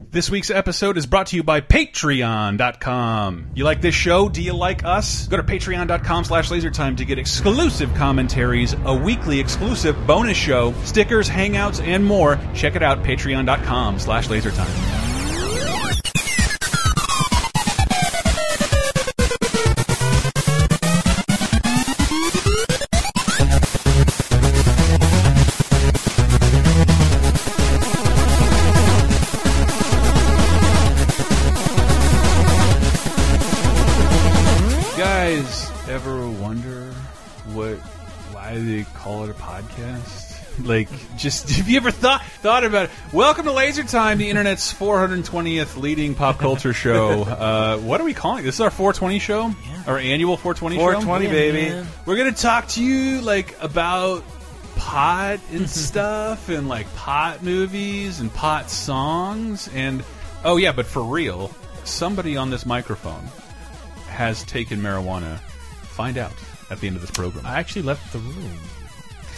This week's episode is brought to you by Patreon.com. You like this show? Do you like us? Go to patreon.com slash lasertime to get exclusive commentaries, a weekly exclusive bonus show, stickers, hangouts, and more. Check it out, patreon.com slash lasertime. guys ever wonder what why they call it a podcast? Like, just have you ever thought thought about it? Welcome to Laser Time, the internet's 420th leading pop culture show. Uh, what are we calling it? This is our 420 show, our annual 420 420, show. baby. man. We're gonna talk to you like about pot and stuff, and like pot movies and pot songs, and oh yeah, but for real, somebody on this microphone has taken marijuana. Find out at the end of this program. I actually left the room.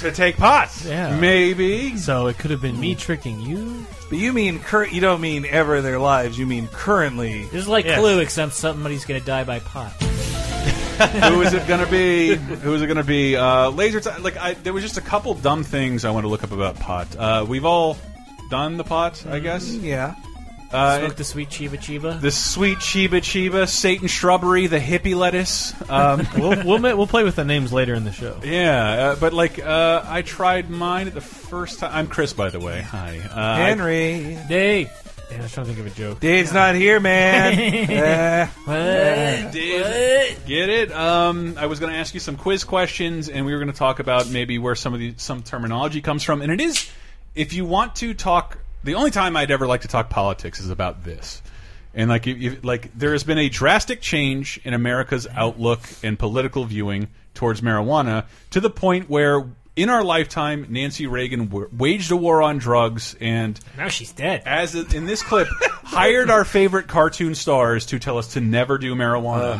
To take pots. Yeah. Maybe. So it could have been me tricking you. But you mean cur- you don't mean ever in their lives. You mean currently. This is like Yes. Clue, except somebody's going to die by pot. Who is it gonna be? Who is it gonna be? Uh, laser time. Like I, there was just a couple dumb things I want to look up about pot. Uh, we've all done the pot, Mm-hmm. I guess. Yeah. Uh, Smoke the sweet Chiba Chiba. The sweet Chiba Chiba, Satan shrubbery, the hippie lettuce. Um, We'll we'll, ma- we'll play with the names later in the show. yeah, uh, but like uh, I tried mine at the first time. I'm Chris, by the way. Hi, uh, Henry. Dave. Yeah, I was trying to think of a joke. Dave's not here, man. Eh. What? Dave, get it? Um, I was going to ask you some quiz questions, and we were going to talk about maybe where some of the some terminology comes from. And it is, if you want to talk, the only time I'd ever like to talk politics is about this. And like, if- if, like there has been a drastic change in America's outlook and political viewing towards marijuana to the point where. In our lifetime, Nancy Reagan wa- waged a war on drugs and Now she's dead. as in in this clip, hired our favorite cartoon stars to tell us to never do marijuana.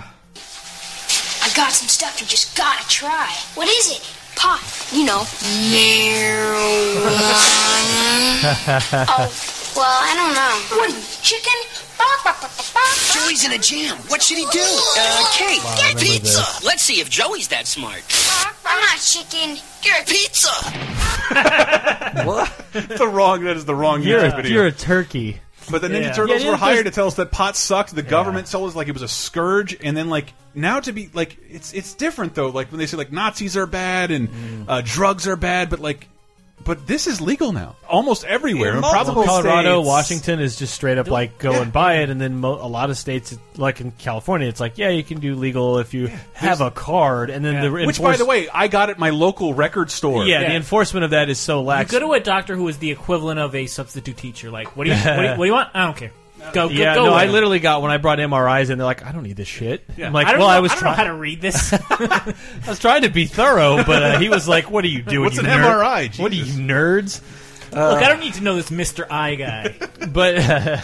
I got some stuff you just gotta try. What is it? Pot. You know. oh, well, I don't know. What are you, chicken? Joey's in a jam. What should he do? Uh, cake. Get pizza. Let's see if Joey's that smart. I'm not chicken. You're a pizza. the wrong that is the wrong You're YouTube a, video. you're a turkey. but the Ninja yeah. Turtles Yeah, were yeah, hired to tell us that pot sucked. The government told us like it was a scourge, and then like now to be like it's it's different though. Like when they say like Nazis are bad and uh, drugs are bad, but like but this is legal now almost everywhere. In And multiple probably- Colorado, states. Washington is just straight up like go and buy it, and then mo- a lot of states, like in California, it's like yeah, you can do legal if you have a card, and then the which by enforce- the way, I got at my local record store. yeah, the Yeah. enforcement of that is so You lax. go to a doctor who is the equivalent of a substitute teacher. Like, what do you, what do you, what do you want? I don't care. Go, go, yeah, go. no, away. I literally got when I brought MRIs, and they're like, I don't need this shit. I'm like, I don't well, know, I was don't know trying, how to read this. I was trying to be thorough, but uh, he was like, "What are you doing? What's you an ner- MRI? What are you nerds?" Look, I don't need to know this Mr. I guy. But uh,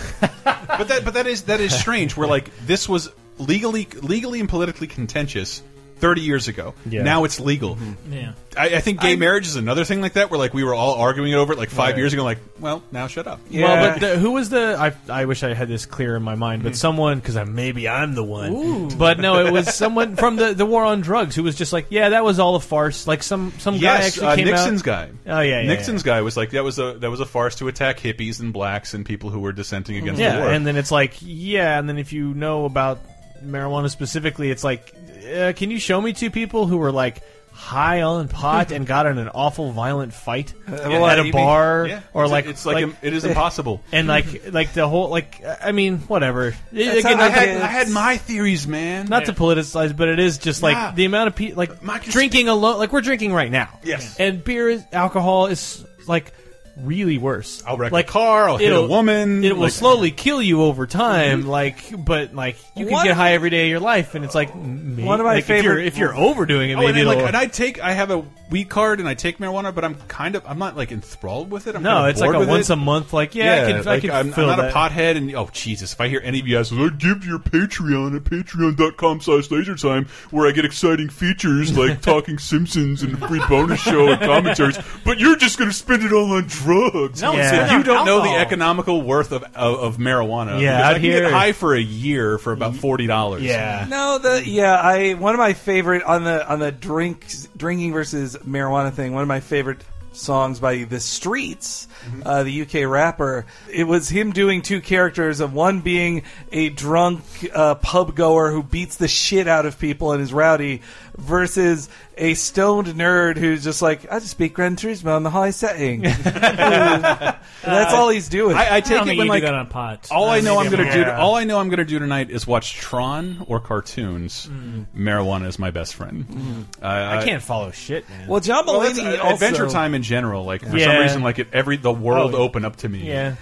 but that but that is that is strange. Where like this was legally legally and politically contentious thirty years ago. Yeah. Now it's legal. Yeah. I, I think gay marriage is another thing like that. Where like we were all arguing over it like five years ago. Like, well, now shut up. Yeah. well, but the, who was the? I, I wish I had this clear in my mind, Hmm. but someone because I maybe I'm the one. But no, it was someone from the the war on drugs who was just like, "Yeah, that was all a farce." Like some some guy Yes, actually uh, came Nixon's out. guy. Oh, yeah, yeah, Nixon's guy was like that was a that was a farce to attack hippies and blacks and people who were dissenting against the Yeah, war. and then it's like, yeah, and then if you know about marijuana specifically, it's like, uh, can you show me two people who were like high on pot and got in an awful violent fight well, at you a mean- bar Yeah. or It's- like it's like, Oh, im- it is impossible. and like like the whole like I mean whatever. Again, how not, I had- to, I had my theories, man. not to politicize, but it is just like Yeah. the amount of people like My consp- drinking alone. Like we're drinking right now. Yes. and beer is alcohol is like really worse. I'll wreck like a car, I'll hit a it'll- woman, It will like- slowly kill you over time. Like, but like you can One- get high every day of your life, and it's like maybe, One of my like, if you're, favorite- if you're overdoing it, Oh, and, maybe then, like, it'll. and I take I have a weed card and I take marijuana, but I'm kind of I'm not like enthralled with it. I'm no, kind of it's like bored a with once it. a month. Like, yeah, I can, I like, can I'm, fill I'm not that. a pothead, and oh Jesus! If I hear any of you guys, "Oh, give your Patreon at patreon.com/slash lasertime, where I get exciting features like talking Simpsons and a free bonus show and commentaries, but you're just going to spend it all on drugs. No, He it's said, not you on don't know the alcohol." economical worth of, of, of marijuana. Yeah, because I out can here- get high for a year for about forty dollars. yeah. No, the yeah, I one of my favorite on the on the drinks drinking versus marijuana thing. One of my favorite songs by The Streets, uh, the UK rapper. It was him doing two characters of one being a drunk uh, pub goer who beats the shit out of people and is rowdy, versus a stoned nerd who's just like I just beat Gran Turismo on the high setting. that's all he's doing. I, I take don't it think when you like do that on pot. Oh, all I know I'm maybe gonna on- do Yeah. all I know I'm gonna do tonight is watch Tron or cartoons. Mm. Marijuana is my best friend. Uh, I can't follow shit, man. well, John Oh, Well, that's, Mulaney uh, also, Adventure Time in general, like for some Yeah. reason, like it, every the world Oh, opened up to me. yeah.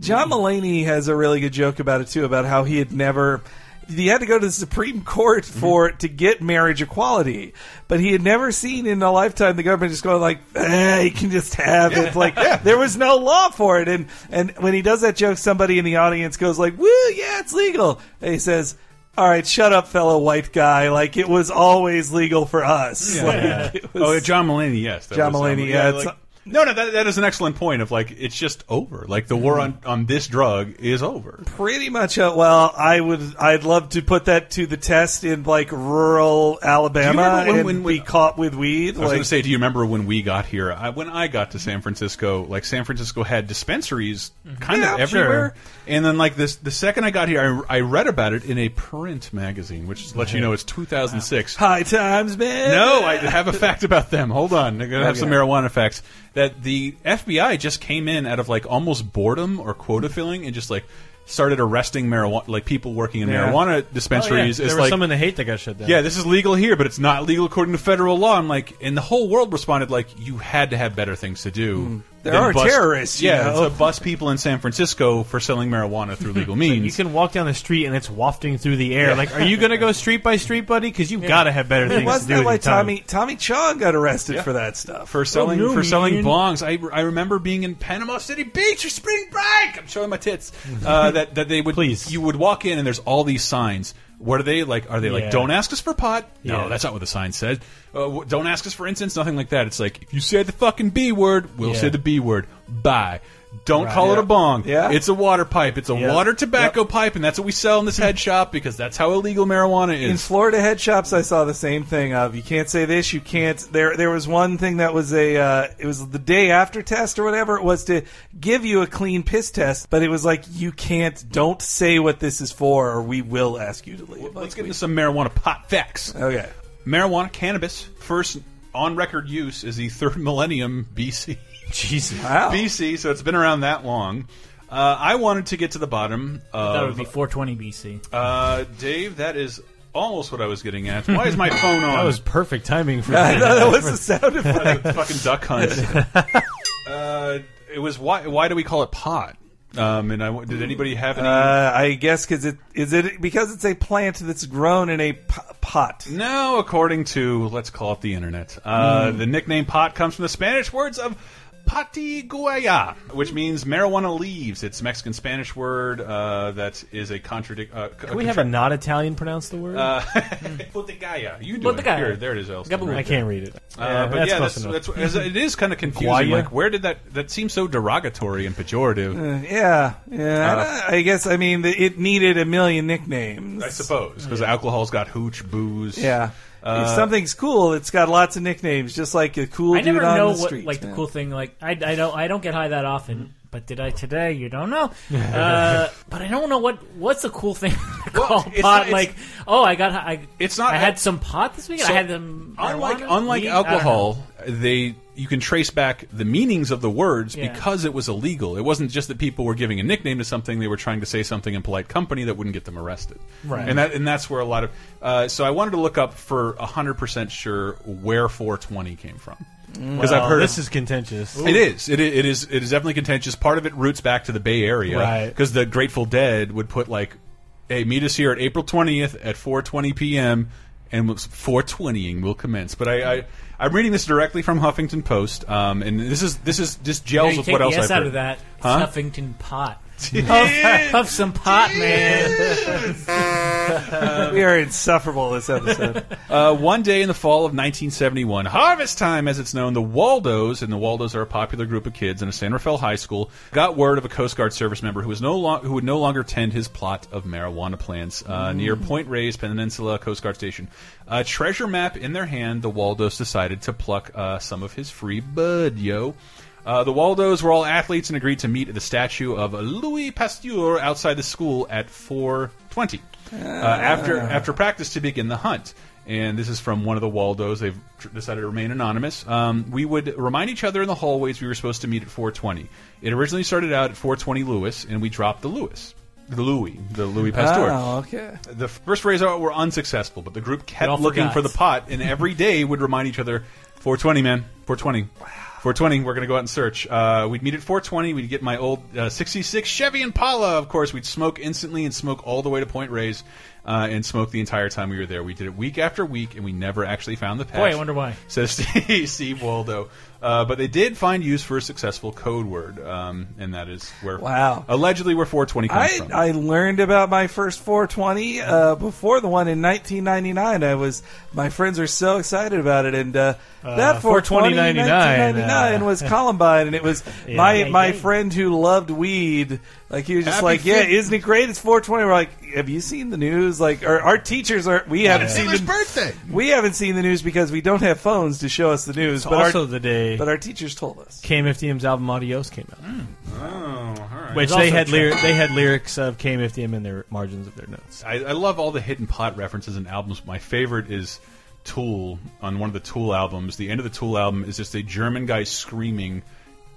John Mulaney has a really good joke about it too, about how he had never. He had to go to the Supreme Court for to get marriage equality, but he had never seen in a lifetime the government just going like, eh, "You can just have it." Like there was no law for it, and and when he does that joke, somebody in the audience goes like, "Woo, yeah, it's legal." And he says, "All right, shut up, fellow white guy. Like it was always legal for us." Like, it was- Oh, yeah, John Mulaney, yes. that John was, um, Mulaney, yeah, it's- like- no, no, that, that is an excellent point of like it's just over. Like the war on on this drug is over. pretty much uh well i would i'd love to put that to the test in like rural alabama remember when- and when be we- caught with weed I was going like to say, do you remember when we got here? I, when I got to San Francisco, like San Francisco had dispensaries Mm-hmm. kind of Yeah, sure. everywhere, and then like this, the second I got here, I, I read about it in a print magazine, which lets you know it's 2006. high times man No, I have a fact about them. Hold on, I'm gonna have some Okay. marijuana facts. That the FBI just came in out of like almost boredom or quota filling, and just like started arresting marijuana, like people working in Yeah. marijuana Oh, yeah. dispensaries. There It's was like, some in the hate that got shut down. yeah, this is legal here, but it's not legal according to federal law. I'm like, and the whole world responded like, you had to have better things to do. Hmm. There than are terrorists, you Yeah, know. to bust people in San Francisco for selling marijuana through legal means. You can walk down the street and it's wafting through the air. Like, are you gonna go street by street, buddy? Because you've got to have better it things was to do. that with why your time. tommy tommy chong got arrested Yeah. for that stuff for selling no, for selling man. bongs. I, I remember being in Panama City Beach or spring break. I'm showing my tits. Uh, that that they would Please. you would walk in and there's all these signs. What are they like? Are they like Yeah. don't ask us for pot? No, Yeah. that's not what the sign said. Uh, w- don't ask us for incense. Nothing like that. It's like if you say the fucking b word, we'll Yeah. say the b word. Bye. Don't call it a bong. Yeah. It's a water pipe. It's a Yeah. water tobacco pipe, and that's what we sell in this head shop because that's how illegal marijuana in is. Florida head shops, I saw the same thing of you can't say this, you can't. There, there was one thing that was a, uh, it was the day after test or whatever. It was to give you a clean piss test, but it was like you can't, don't say what this is for, or we will ask you to leave. Let's get into some marijuana pot facts. okay. marijuana cannabis first on record use is the third millennium BC. Jesus. Wow. BC, so it's been around that long. Uh, I wanted to get to the bottom I thought it would of be 420 BC. uh, Dave. That is almost what I was getting at. Why is my phone on? That was perfect timing for I me. know that was the sound effect. fucking duck hunt. uh, it was why? Why do we call it pot? Um, and I w did anybody have any? Uh, I guess because it is it because it's a plant that's grown in a p- pot. No, according to let's call it the internet. Uh, Hmm. The nickname pot comes from the Spanish words of patiguaya, which means marijuana leaves. It's Mexican Spanish word uh, that is a contradict. Uh, Can we have a not Italian pronounce the word? Uh, Patiguaya. You do it. Patiguaya. Here, there it is. Elston, Gabagool. right I there. can't read it. Uh, but that's yeah, close enough. that's, that's, as- it is kind of confusing. Guaya. Like, where did that? That seems so derogatory and pejorative. Yeah, yeah. I, I guess I mean the, it needed a million nicknames. I suppose because alcohol's got hooch, booze. Yeah. if Uh, something's cool, it's got lots of nicknames, just like a cool I dude never on know the what street. like the man. cool thing. Like I, I don't I don't get high that often. But did I today? You don't know. Uh, but I don't know what what's a cool thing to Well, call it's not- pot. it's- like oh, I got I. It's not- I had some pot this weekend. So, I had them. unlike marijuana, unlike weed, I don't know. alcohol, they you can trace back the meanings of the words Yeah. because it was illegal. It wasn't just that people were giving a nickname to something; they were trying to say something in polite company that wouldn't get them arrested. Right, and that and that's where a lot of. Uh, so I wanted to look up for hundred percent sure where 420 came from because I've heard Oh, this of- is contentious. It is. It, i- it is. It is definitely contentious. Part of it roots back to the Bay Area, Right. Because the Grateful Dead would put like, "Hey, meet us here at April twentieth at four twenty p.m. and four twentying will commence." But I, I, I'm reading this directly from Huffington Post, um, and this is this is this Yeah, gels you with take what the else S I've out heard. of that. It's Huh? Huffington pot. Huff, huff some pot, man. we are insufferable this episode. Uh, one day in the fall of 1971, harvest time as it's known, the Waldos, and the Waldos are a popular group of kids in a San Rafael high school, got word of a Coast Guard service member who was no lo who would no longer tend his plot of marijuana plants uh, near Point Reyes Peninsula Coast Guard Station. A treasure map in their hand, the Waldos decided to pluck uh, some of his free bud, yo. Uh, the Waldos were all athletes and agreed to meet at the statue of Louis Pasteur outside the school at 4:20 uh, after after practice to begin the hunt. And this is from one of the Waldos. They've tr- decided to remain anonymous. Um, we would remind each other in the hallways we were supposed to meet at 4:20. It originally started out at 4:20 Lewis, and we dropped the Lewis, the Louis, the Louis Pasteur. Oh, okay. The first rays out were unsuccessful, but the group all kept looking forgot. for the pot, and every day would remind each other, "420, man, 420." 420, we're going to go out and search. Uh, we'd meet at 420. We'd get my old uh, 66 Chevy Impala, of course. We'd smoke instantly and smoke all the way to Point Reyes uh, and smoke the entire time we were there. We did it week after week, and we never actually found the patch. Boy, I wonder why. Says Steve, Steve Waldo. Uh, but they did find use for a successful code word, um, and that is where Wow. allegedly where 420 comes I, from. I learned about my first 420 uh, before the one in 1999. I was my friends are so excited about it, and uh, that 420 420.99, 1999 uh, was Columbine, and it was my Yeah, my yeah. friend who loved weed. Like he was just Happy like, yeah, fif- isn't it great? It's 420. We're like, have you seen the news? Like, our, our teachers are we haven't seen Taylor's the, birthday. we haven't seen the news because we don't have phones to show us the news. But also our, the day but our teachers told us. KMFDM's album Adios came out, oh, all right. which It's they also had true. lyri- they had lyrics of KMFDM in their margins of their notes. I, I love all the hidden pot references and albums. My favorite is Tool on one of the Tool albums. The end of the Tool album is just a German guy screaming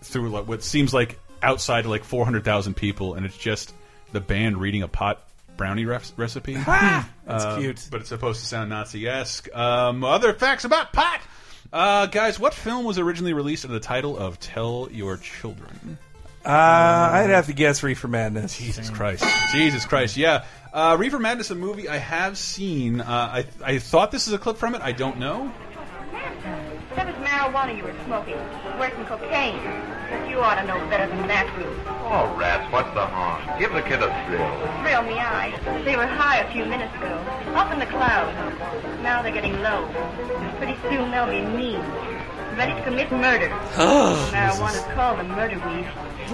through like what seems like outside like four hundred thousand people, and it's just the band reading a pot brownie ref recipe. That's Um, Ah! cute. but it's supposed to sound Nazi-esque. Um, other facts about pot. Uh, guys, what film was originally released under the title of "Tell Your Children"? Uh, I'd have to guess Reefer Madness. Jesus Christ. Jesus Christ. Yeah. Uh, Reefer Madness, a movie I have seen. Uh, I, I thought this is a clip from it. I don't know. That was marijuana you were smoking, worse than cocaine. But you ought to know better than that, Ruth. Oh, rats, what's the harm? Give the kid a thrill. Thrill me I. They were high a few minutes ago, up in the clouds. Now they're getting low. Pretty soon they'll be mean, ready to commit murder. Marijuana's called the murder weed.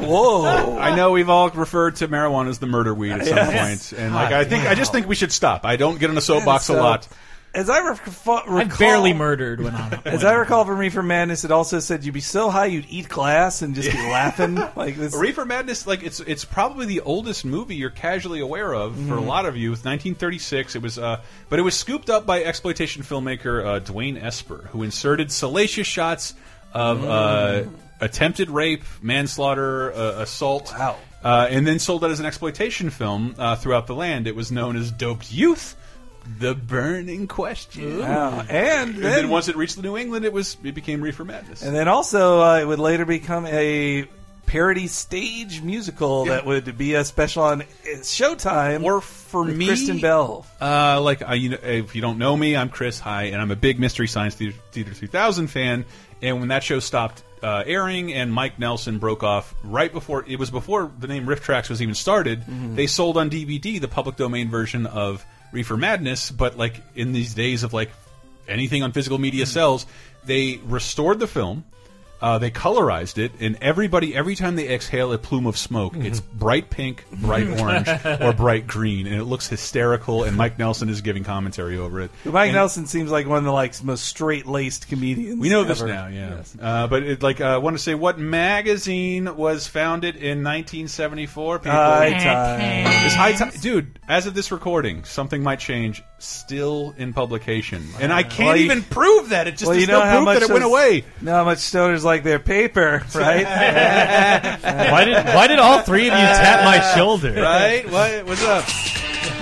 Whoa. I know we've all referred to marijuana as the murder weed at some Yes. point, and like I think I just think we should stop. I don't get in a soapbox So, a lot. As I rec- recall, I barely murdered when I'm. As I recall from Reefer Madness, it also said you'd be so high you'd eat glass and just be laughing like this. Reefer Madness, like it's it's probably the oldest movie you're casually aware of for Mm-hmm. a lot of you. It's 1936. It was, uh, but it was scooped up by exploitation filmmaker uh, Dwayne Esper, who inserted salacious shots of uh, Mm. attempted rape, manslaughter, uh, assault. Wow. Uh, and then sold it as an exploitation film uh, throughout the land. It was known as Doped Youth, The Burning Question. Wow. And And then then, once it reached New England, it was it became Reefer Madness. and then also uh, it would later become a parody stage musical that would be a special on uh, Showtime. Or for with me- Kristen Bell. Uh, like I, you know, if you don't know me, I'm Chris. Hi, and I'm a big Mystery Science Theater, Theater 3000 fan. And when that show stopped uh, airing, and Mike Nelson broke off right before it was before the name Riff Tracks was even started, Mm-hmm. they sold on DVD the public domain version of Reefer Madness. But like in these days of like anything on physical media Mm-hmm. sells, they restored the film. Uh, they colorized it, and everybody, every time they exhale a plume of smoke, it's bright pink, bright orange, or bright green, and it looks hysterical. And Mike Nelson is giving commentary over it. Mike uh, And Nelson seems like one of the like most straight laced comedians. We know this ever. now, yeah. Uh, but it, like, uh, I want to say, what magazine was founded in 1974? People, High time. It's high time, dude. As of this recording, something might change. Still in publication, and I can't Well, you- even prove that. It just Well, you there's know no how proof much that it went those- away. Know how much stoners like their paper, right? why did why did all three of you tap my shoulder? Right? What? What's up?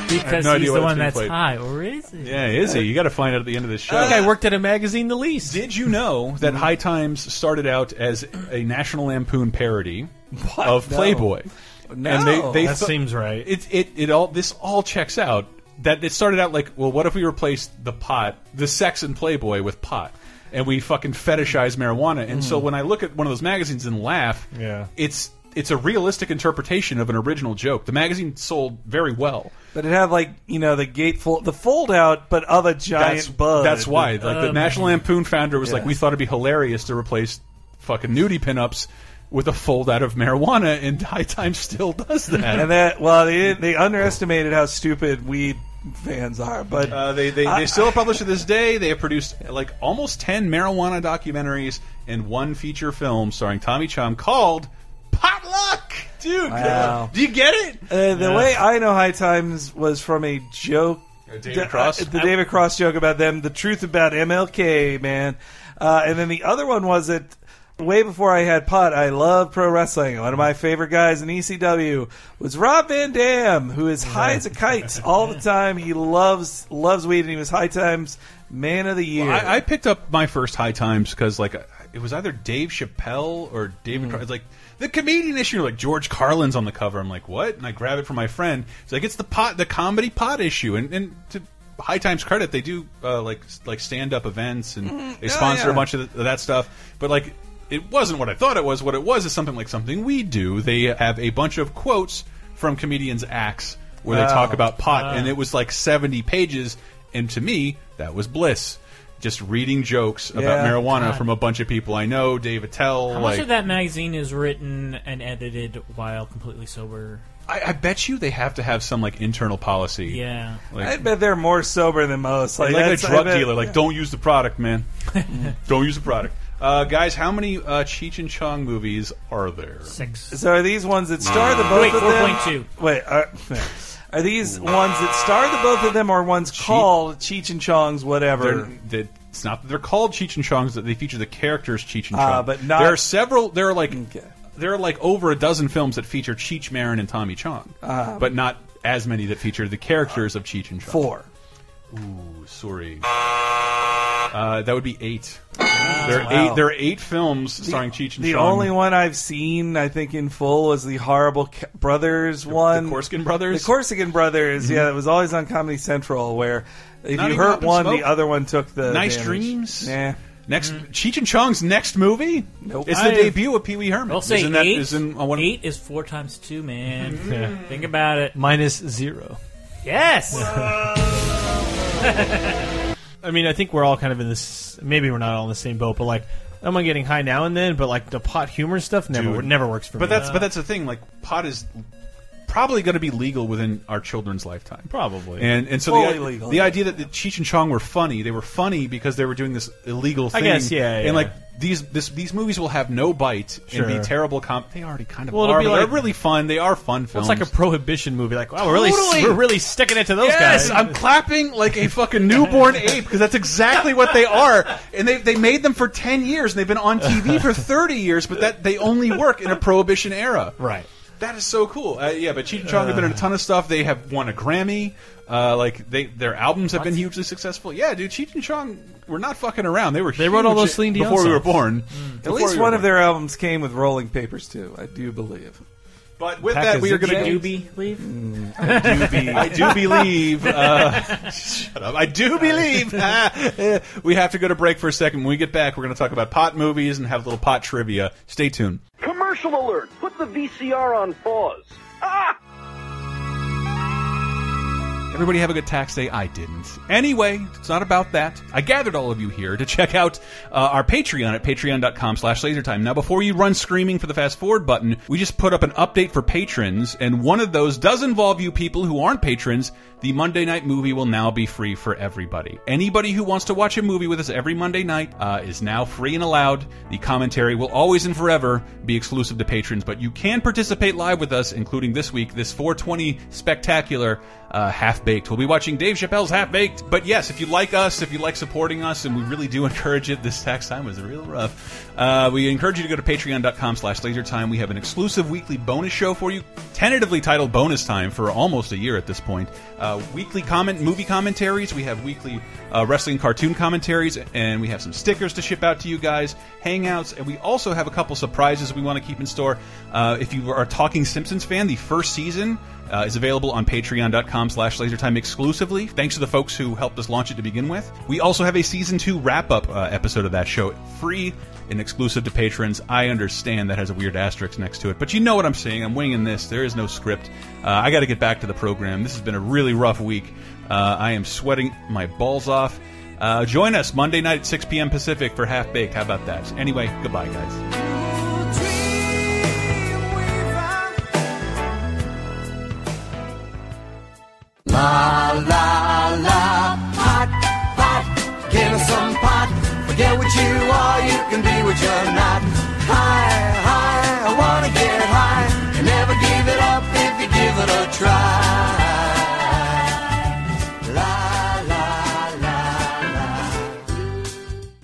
because no idea he's the what one it's being that's played. high, or is it? Yeah, Izzy, you got to find out at the end of this show. I think I worked at a magazine the least. Did you know that High Times started out as a National Lampoon parody of No. Playboy? No. And they, they That thought- seems right. It, it it all this all checks out. That it started out like, well, what if we replaced the pot, the sex in Playboy with pot, and we fucking fetishize marijuana? And Mm. so when I look at one of those magazines and laugh, Yeah. it's it's a realistic interpretation of an original joke. The magazine sold very well. But it had like you know the gate fold, the fold out, but of a giant that's, bug. That's why. Like the Um, National Lampoon founder was yeah. like, we thought it'd be hilarious to replace fucking nudie pinups with a fold out of marijuana, and High Time still does that. And that well, they didn't- they underestimated how stupid weed fans are. But Uh, they they, they still publish to this day. They have produced like almost ten marijuana documentaries and one feature film starring Tommy Chom called Potluck. Dude, Wow. do you get it? Uh, the way I know High Times was from a joke. Uh, David Cross? The David Cross joke about them, the truth about MLK, man. Uh, and then the other one was that way before I had pot, I love pro wrestling. One of my favorite guys in ECW was Rob Van Dam, who is high as a kite all the time. He loves loves weed, and he was High Times Man of the Year. I, I picked up my first High Times because like it was either Dave Chappelle or David. Mm-hmm. Car- it's like the comedian issue, like George Carlin's on the cover. I'm like, what? And I grab it from my friend. It's like it's the pot, the comedy pot issue, and and to High Times credit, they do uh, like like stand up events and they sponsor Mm-hmm. yeah. a bunch of th- that stuff. But like. It wasn't what I thought it was. What it was is something like something we do. They have a bunch of quotes from comedians' acts where they Oh, talk about pot, and it was like 70 pages. And to me, that was bliss. Just reading jokes about Yeah. marijuana God. from a bunch of people I know, Dave Attell. How like, much of that magazine is written and edited while completely sober? I, I bet you they have to have some like internal policy. Yeah. Like, I bet they're more sober than most. Like, like a that's- I drug bet- dealer. Like, don't use the product, man. don't use the product. Uh, guys, how many uh, Cheech and Chong movies are there? Six. So are these ones that star the both Wait, of them? 4.2. Wait, are, are these ones that star the both of them, or ones called Cheech and Chong's whatever? They're, they, it's not that they're called Cheech and Chong's. That they feature the characters Cheech and Chong. Ah, but not- there are several. There are like Okay. there are like over a dozen films that feature Cheech Marin and Tommy Chong, but not as many that feature the characters of Cheech and Chong. Uh, Four. Ooh, sorry. Uh, that would be eight. there are Ah, Wow. eight. There are eight films starring Cheech and The Chong. only one I've seen, I think, in full was the horrible Ca- brothers one. the Corsican Brothers? Mm-hmm. The Corsican brothers. Yeah, it was always on Comedy Central. Where if Not you even hurt Up in one, Smoke? the other one took the Nice damage. Dreams? Nah. Next, Mm-hmm. Cheech and Chong's next movie. Nope. It's the I- debut of Pee Wee Herman. I'll say Isn't that- eight. isn't- uh, one of- eight is four times two, man. Yeah. Think about it. Minus zero. Yes. I mean, I think we're all kind of in this. Maybe we're not all in the same boat, but like, am I getting high now and then? But like the pot humor stuff never Dude. never works for me. Uh, But that's but that's the thing. Like pot is probably going to be legal within our children's lifetime. probably. And and so Fully the, legal, the yeah. idea that the Cheech and Chong were funny, they were funny because they were doing this illegal I thing. guess, yeah, yeah. And like these this these movies will have no bite Sure. and be terrible. Com they already kind of Well, it'll are. be but like- they're really fun. They are fun it's films. like a prohibition movie. Like, wow, we're really Totally. we're really sticking it to those Yes, guys. I'm clapping like a fucking newborn ape because that's exactly what they are. And they they made them for ten years and they've been on TV for thirty years, but that they only work in a prohibition era. right. That is so cool. Uh, yeah, but Cheech and Chong have been in a ton of stuff. They have won a Grammy. Uh, like they, their albums have been hugely successful. Yeah, dude, Cheech and Chong were not fucking around. They were. They wrote all huge those Celine Dion before we were songs. Mm. born. At least one of their albums came with rolling papers too. I do believe. But with Pack that, of we are going to zigzags. do. Doobie leave? I do believe. Uh, shut up. I do believe. Ah, we have to go to break for a second. When we get back, we're going to talk about pot movies and have a little pot trivia. Stay tuned. Commercial alert! Put the VCR on pause. Everybody have a good tax day. I didn't. Anyway, it's not about that. I gathered all of you here to check out uh, our Patreon at patreon.com slash lasertime. Now, before you run screaming for the fast forward button, we just put up an update for patrons, and one of those does involve you people who aren't patrons. The Monday night movie will now be free for everybody. Anybody who wants to watch a movie with us every Monday night uh, is now free and allowed. The commentary will always and forever be exclusive to patrons, but you can participate live with us, including this week, this 420 spectacular uh, Half Baked. We'll be watching Dave Chappelle's Half Baked. But yes, if you like us, if you like supporting us, and we really do encourage it, this tax time was real rough. Uh, we encourage you to go to patreon.com slash lasertime. We have an exclusive weekly bonus show for you, tentatively titled Bonus Time for almost a year at this point. Uh, weekly comment movie commentaries. We have weekly uh, wrestling cartoon commentaries, and we have some stickers to ship out to you guys, hangouts, and we also have a couple surprises we want to keep in store. Uh, if you are a Talking Simpsons fan, the first season uh, uh, is available on patreon.com slash lasertime exclusively. Thanks to the folks who helped us launch it to begin with. We also have a season two wrap-up uh, episode of that show, free and exclusive to patrons. I understand that has a weird asterisk next to it, but you know what I'm saying. I'm winging this. There is no script. Uh, I got to get back to the program. This has been a really rough week. Uh, I am sweating my balls off. Uh, join us Monday night at 6 p.m. Pacific for Half Baked. How about that? Anyway, goodbye, guys.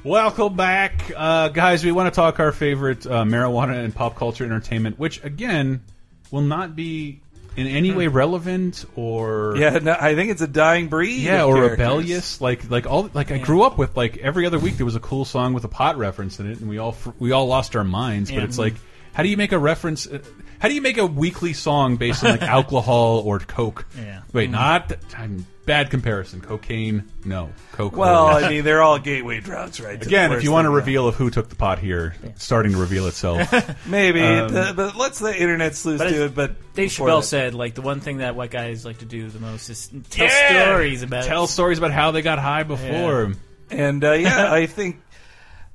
Welcome back, uh, guys. We want to talk our favorite uh, marijuana and pop culture entertainment, which again will not be in any way relevant or Hmm. Yeah, no, I think it's a dying breed. yeah, of or characters. rebellious. Like like all like I grew up with like every other week there was a cool song with a pot reference in it, and we all fr- we all lost our minds. But it's like how do you make a reference? uh, How do you make a weekly song based on like alcohol or coke? Yeah. Wait, Hmm. not I'm, bad comparison. Cocaine, no, coke. Well, no. I mean, they're all gateway drugs, right? to the Again, if worst you want to thing, reveal of who took the pot here, it's starting to reveal itself. yeah. maybe, Um, the- but let's the internet sleuths But do it's- it. But Dave before Chappelle that- said, like, the one thing that white guys like to do the most is tell Yeah. stories about Tell stories about how they got high before. and uh, yeah, I think.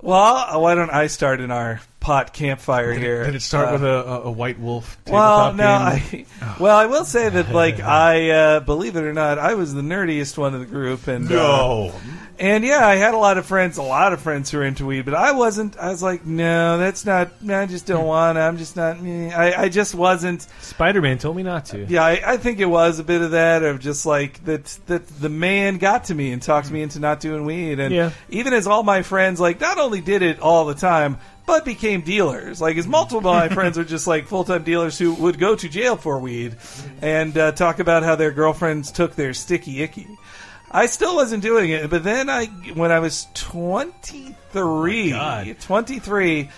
Well, why don't I start in our pot campfire here? Did it start Uh, with a, a, a white wolf? Well, tabletop no, game? Oh. I, well, I will say that, like, I uh, believe it or not, I was the nerdiest one in the group, and uh, no. and yeah, I had a lot of friends, a lot of friends who were into weed, but I wasn't. I was like, no, that's not. no, I just Hmm. don't want. to. I'm just not. me. I, I just wasn't. Spider Man told me not to. Yeah, I, I think it was a bit of that of just like that that the man got to me and talked me into not doing weed, and Yeah. even as all my friends like not only did it all the time but became dealers. Like as multiple of my friends are just like full time dealers who would go to jail for weed and uh, talk about how their girlfriends took their sticky icky. I still wasn't doing it, but then I when I was 23, God. 23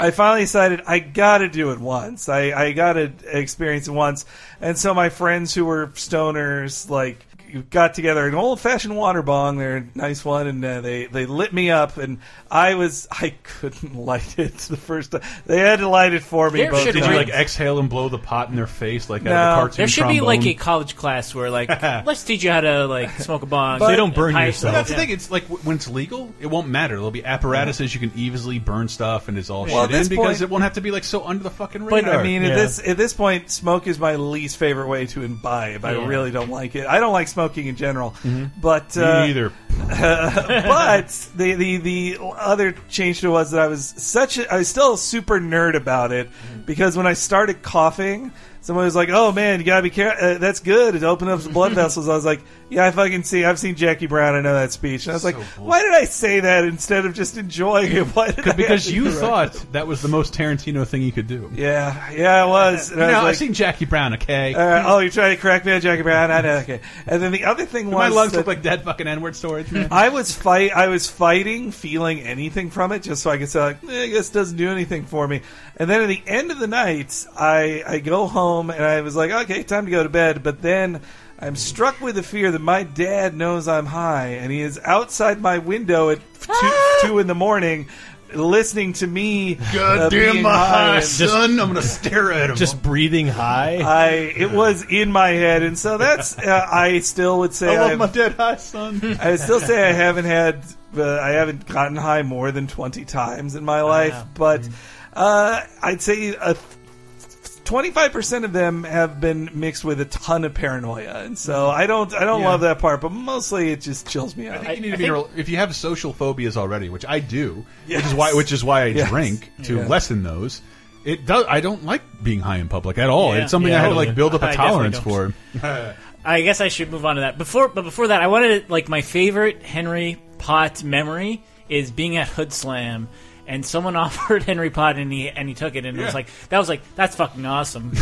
I finally decided I got to do it once. I, I got to experience it once. And so my friends who were stoners, like, got together an old fashioned water bong. They're a nice one. And uh, they, they lit me up. And I was, I couldn't light it the first time. They had to light it for me. There both should Did you times. like exhale and blow the pot in their face like No. out of a cartoon? There should be trombone? like a college class where like let's teach you how to like smoke a bong. But- They don't burn High- yourself. But that's the Yeah. thing. It's like w- when it's legal, it won't matter. There'll be apparatuses you can easily burn stuff, and it's all Well, at shit in this because point- it won't have to be like so under the fucking radar. But I mean, at Yeah. this at this point, smoke is my least favorite way to imbibe. I Yeah. really don't like it. I don't like smoking in general. But me uh, either. but the, the the other change to it was that I was such a, I was still a super nerd about it because when I started coughing, someone was like, "Oh man, you gotta be careful. Uh, that's good. It opened up some blood vessels." I was like, "Yeah, I fucking see. I've seen Jackie Brown. I know that speech." And I was like, "Why did I say that instead of just enjoying it? Why did I have Because to you do it?" thought that was the most Tarantino thing you could do. Yeah, yeah, it was. And I No, was I've like, seen Jackie Brown. Okay, uh, oh, you're trying to crack me on Jackie Brown? I know. Okay. And then the other thing was my lungs that- look like dead fucking N-word storage. Man. I was fight. I was fighting, feeling anything from it, just so I could say, like, eh, "This doesn't do anything for me." And then at the end of the night, I I go home and I was like, "Okay, time to go to bed." But then I'm struck with the fear that my dad knows I'm high, and he is outside my window at two, two in the morning, listening to me. uh, being high and- son! I'm gonna stare at him. Just breathing high. I it was in my head, and so that's uh, I still would say I love I've- my dead high son. I would still say I haven't had, uh, I haven't gotten high more than twenty times in my life, but Mm. uh, I'd say a. Twenty-five percent of them have been mixed with a ton of paranoia, and so Mm-hmm. I don't, I don't love that part. But mostly, it just chills me out. I think you need I- I to be think- rel- if you have social phobias already, which I do, which Yes. is why which is why I Yes. drink to Yeah. lessen those. It does. I don't like being high in public at all. Yeah. It's something I Yeah. had to like build up I a definitely tolerance don't. for. I guess I should move on to that. Before, but before that, I wanted like my favorite Henry Pot memory is being at Hood Slam. And someone offered Henry Pot, and he and he took it, and it was Yeah. like that was like that's fucking awesome,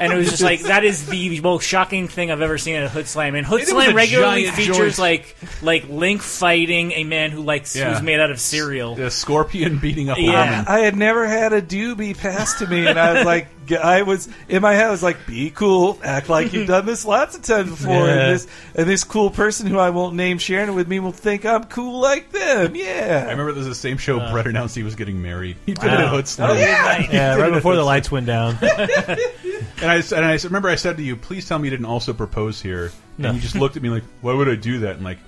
and it was just like that is the most shocking thing I've ever seen at a Hood Slam. And Hood And it was Slam a regularly giant features joint. like like Link fighting a man who likes Yeah. who's made out of cereal. The scorpion beating up a Yeah. woman. I had never had a doobie passed to me, and I was like, g- I was in my head. I was like, "Be cool, act like you've done this lots of times before." Yeah. And this and this cool person who I won't name sharing it with me will think I'm cool like them. I Yeah, remember this was the same show Uh. Brett announced he was getting married. He did it at Wow. Oh, Hood Slam. yeah, right before the lights went down. And I, and I remember I said to you, please tell me you didn't also propose here. No. And you just looked at me like, why would I do that? And like,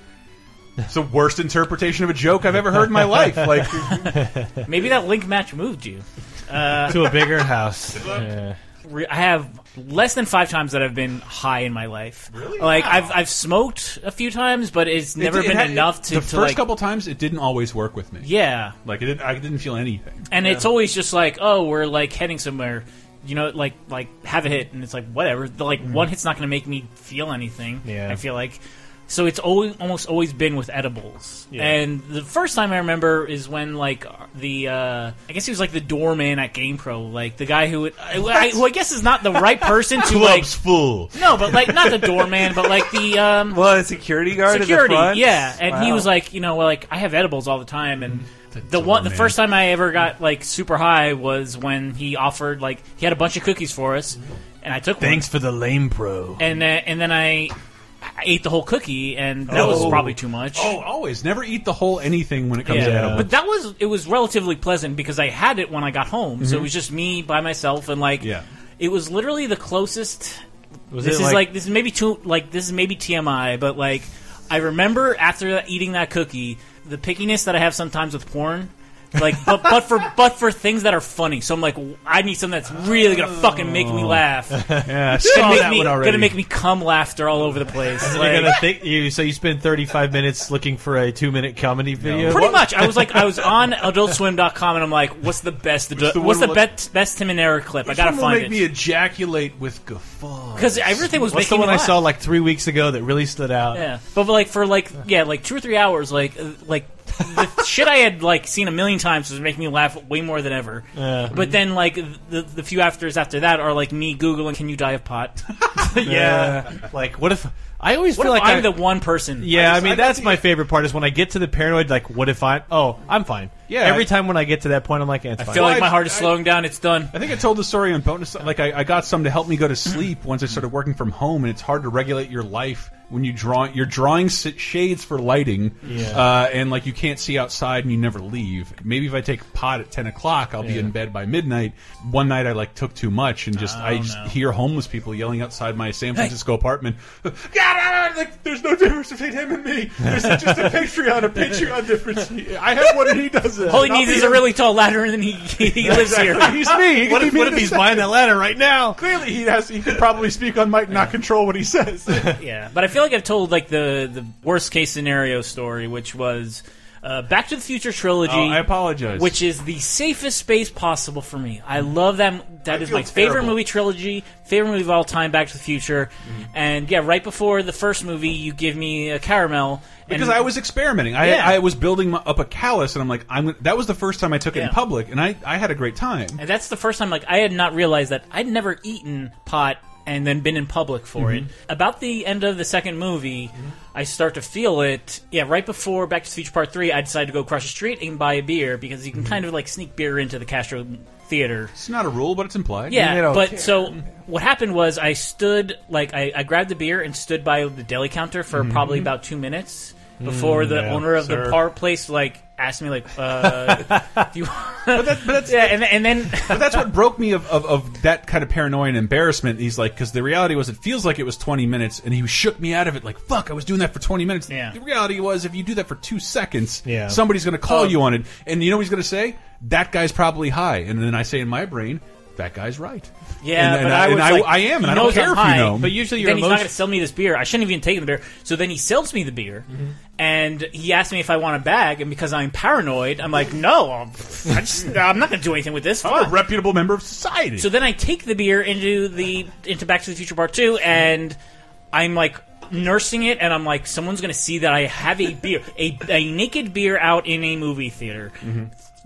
it's the worst interpretation of a joke I've ever heard in my life. Like, Maybe that link match moved you. to a bigger house. Yeah. re- I have less than five times that I've been high in my life. Really? Like I've I've smoked a few times, but it's never it- it been had- enough to, to The first like couple times, it didn't always work with me. yeah. Like, it didn't, I didn't feel anything. And it's always just like oh we're like heading somewhere, you know like like have a hit and it's like whatever. The, Mm. like one hit's not going to make me feel anything. Yeah. I feel like. So it's always, almost always been with edibles, and the first time I remember is when like the uh, I guess he was like the doorman at GamePro, like the guy who would, I, I, who I guess is not the right person to like full. No, but like not the doorman, but like the um, well, a security guard at security. the front. Yeah, and he Wow. was like, you know, well, like I have edibles all the time, and the, one, the doorman. first time I ever got like super high was when he offered like he had a bunch of cookies for us, and I took Thanks for the lame pro. one, and uh, and then I. I ate the whole cookie, and that was Oh. probably too much. Oh, always. Never eat the whole anything when it comes yeah. to edibles. but that was it was relatively pleasant because I had it when I got home, so it Mhm. was just me by myself, and like Yeah. it was literally the closest Was this it is like, this is maybe too like this is maybe TMI, but like I remember after that, eating that cookie, the pickiness that I have sometimes with porn. Like, but but for but for things that are funny, so I'm like, w- I need something that's really gonna fucking make me laugh. yeah, I Oh. saw make that me, one already. gonna make me cum laughter all over the place. You're Like, gonna think you. So you spend 35 minutes looking for a two-minute comedy video. pretty much, I was like, I was on AdultSwim.com, and I'm like, what's the best? the what's one the will- best best Tim and Eric clip? I gotta Someone will find make it me ejaculate with guffaw. because everything was What's the making me one I laugh. saw like three weeks ago that really stood out? Yeah, but like for like yeah, like two or three hours, like uh, like the shit I had like seen a million times was making me laugh way more than ever. Yeah. But then like the the few afters after that are like me googling, "Can you die of pot?" Yeah. Like, what if I always What feel if like I'm I, the one person? Yeah, I, just- mean I that's think- my favorite part is when I get to the paranoid. Like, what if I? Oh, I'm fine. Yeah, Every I- time when I get to that point, I'm like, eh, it's I fine. feel like my Well, I- heart is I- slowing down. It's done. I think I told the story on bonus. Like I, I got some to help me go to sleep once I started working from home, and it's hard to regulate your life when you draw. You're drawing s shades for lighting, uh, and like you can't see outside, and you never leave. Maybe if I take pot at ten o'clock, I'll be in bed by midnight. One night I like took too much, and just I just hear homeless people yelling outside my San Francisco apartment. God, I- I- like, there's no difference between him and me. There's just a Patreon, a Patreon difference. I have one, and he doesn't. All he Not needs the is a other. really tall ladder, and then he he lives here. He's me. He what could if, be me what in if a he's second. buying that ladder right now? Clearly, he has. He can probably speak on mic, and not control what he says. Yeah, but I feel like I've told like the the worst case scenario story, which was uh, Back to the Future trilogy. Oh, apologize. which is the safest space possible for me. I love that. That is feel my favorite terrible. movie trilogy, favorite movie of all time, Back to the Future. Mm-hmm. And yeah, right before the first movie, you give me a caramel and- because I was experimenting. I, Yeah. I was building my, up a callus, and I'm like, I'm. gonna- That was the first time I took it in Yeah. public, and I I had a great time. And that's the first time, like, I had not realized that I'd never eaten pot and then been in public for it. About the end of the second movie, I start to feel it. Yeah, right before Back to the Future Part 3, I decided to go across the street and buy a beer because you can kind of, like, sneak beer into the Castro Theater. It's not a rule, but it's implied. They Yeah, don't but care. so what happened was I stood like I, I grabbed the beer and stood by the deli counter for probably about two minutes before the yeah, owner of sir. the bar place like asked me like uh, if you but that- but that's- yeah and, and then But that's what broke me of, of, of that kind of paranoia and embarrassment. He's like, because the reality was, it feels like it was 20 minutes, and he shook me out of it. Like, fuck, I was doing that for 20 minutes. Yeah. The reality was, if you do that for two seconds, Yeah. somebody's going to call you on it, and you know what he's going to say? That guy's probably high. And then I say in my brain, that guy's right. yeah and, but and I, was and like, I, am, he and I don't knows I'm care if high, you know. but But usually then your he's not going emotions. to sell me this beer. I shouldn't have even taken the beer. So then he sells me the beer, and he asked me if I want a bag. And because I'm paranoid, I'm like, no, I'm, I just, I'm not going to do anything with this. I'm a Fuck. reputable member of society. So then I take the beer into the into Back to the Future Part Two, and I'm like nursing it, and I'm like, someone's gonna see that I have a beer, a, a naked beer out in a movie theater.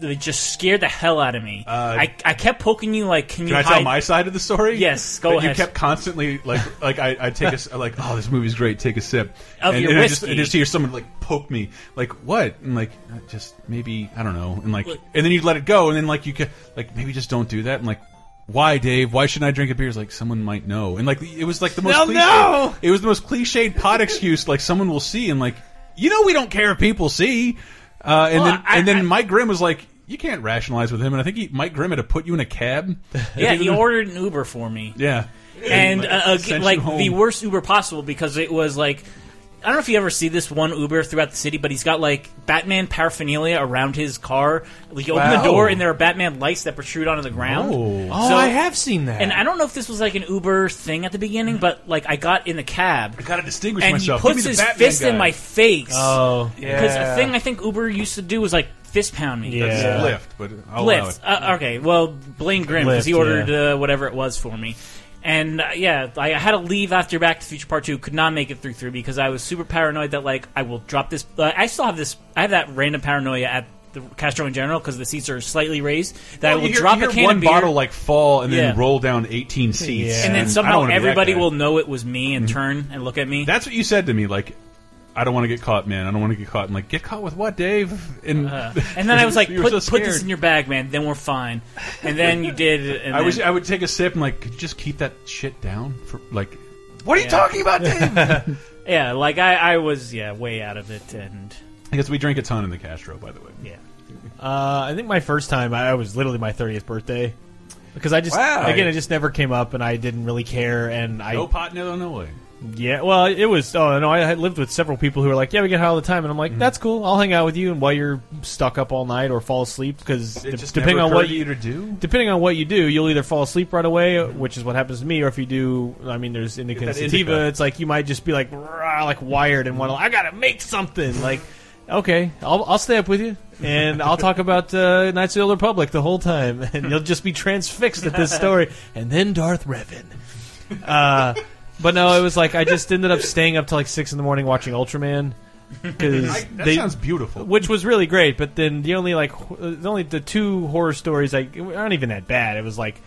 It just scared the hell out of me. I, I kept poking you like, Uh, can you Can I hide? tell my side of the story? Yes, go That You ahead. kept constantly like like I I take a s- like oh this movie's great take a sip Of and, your and I just, whiskey. and just hear someone like poke me like what and like uh, just maybe I don't know and like and then you let it go and then like you ca like maybe just don't do that and like why Dave? Why shouldn't I drink a beer? It's like someone might know, and like it was like the most They'll cliche, know! it was the most cliched pot excuse. Like someone will see, and like you know we don't care if people see. Uh, and Well, then I- and then I- Mike Grimm was like, you can't rationalize with him, and I think he, Mike Grimm had to put you in a cab. Yeah, he ordered an Uber for me. yeah. and uh, uh, sent you like home. the worst Uber possible because it was like I don't know if you ever see this one Uber throughout the city, but he's got like Batman paraphernalia around his car. Like you open Wow. the door and there are Batman lights that protrude onto the ground. Oh, So- I have seen that. And I don't know if this was like an Uber thing at the beginning, but like I got in the cab Gotta distinguish and myself. he Give me puts the his Batman fist in guy. my face. oh, Because Yeah. a thing I think Uber used to do was like fist pound me. It's Yeah. Lyft, but I'll allow it. Lyft. Uh, okay, well, Blaine Grimm because he Lyft, ordered uh, whatever it was for me, and uh, yeah, I had to leave after Back to the Future Part Two. Could not make it through three because I was super paranoid that like I will drop this. Uh, I still have this. I have that random paranoia at the Castro in general because the seats are slightly raised that I will you hear, drop you hear a can one of beer. bottle like fall and then Yeah. roll down 18 seats, Yeah. and I then don't somehow wanna be that everybody guy. Mm-hmm. will know it was me and turn and look at me. That's what you said to me. Like, I don't want to get caught, man. I don't want to get caught. And like, get caught with what, Dave? And Uh, and then I was like, you were put, so put this scared. in your bag, man. Then we're fine. And then you did. And I then, wish I would take a sip and like, could you just keep that shit down for like. What are you talking about, Dave? yeah, like I, I was, yeah, way out of it. And I guess we drink a ton in the Castro, by the way. yeah, Uh, I think my first time, I I was literally my 30th birthday. Because I just, Wow. again, it just never came up and I didn't really care. And I, No pot, no no way. yeah, well, it was, oh, no, I had lived with several people who were like, yeah, we get high all the time. And I'm like, that's cool. I'll hang out with you. And while you're stuck up all night or fall asleep, because It just depending never on what occurred to you, you to do. depending on what you do, you'll either fall asleep right away, which is what happens to me, or if you do, I mean, there's indica and that sativa. indica. It's like you might just be like, rah, like wired and want to, I gotta make something. Like, okay, I'll, I'll stay up with you, and I'll talk about uh, Knights of the Old Republic the whole time, and you'll just be transfixed at this story, and then Darth Revan. Uh, but no, it was like I just ended up staying up till like six in the morning watching Ultraman. Because That they, sounds beautiful. which was really great. But then the only like wh- uh, the only the two horror stories like aren't even that bad. It was like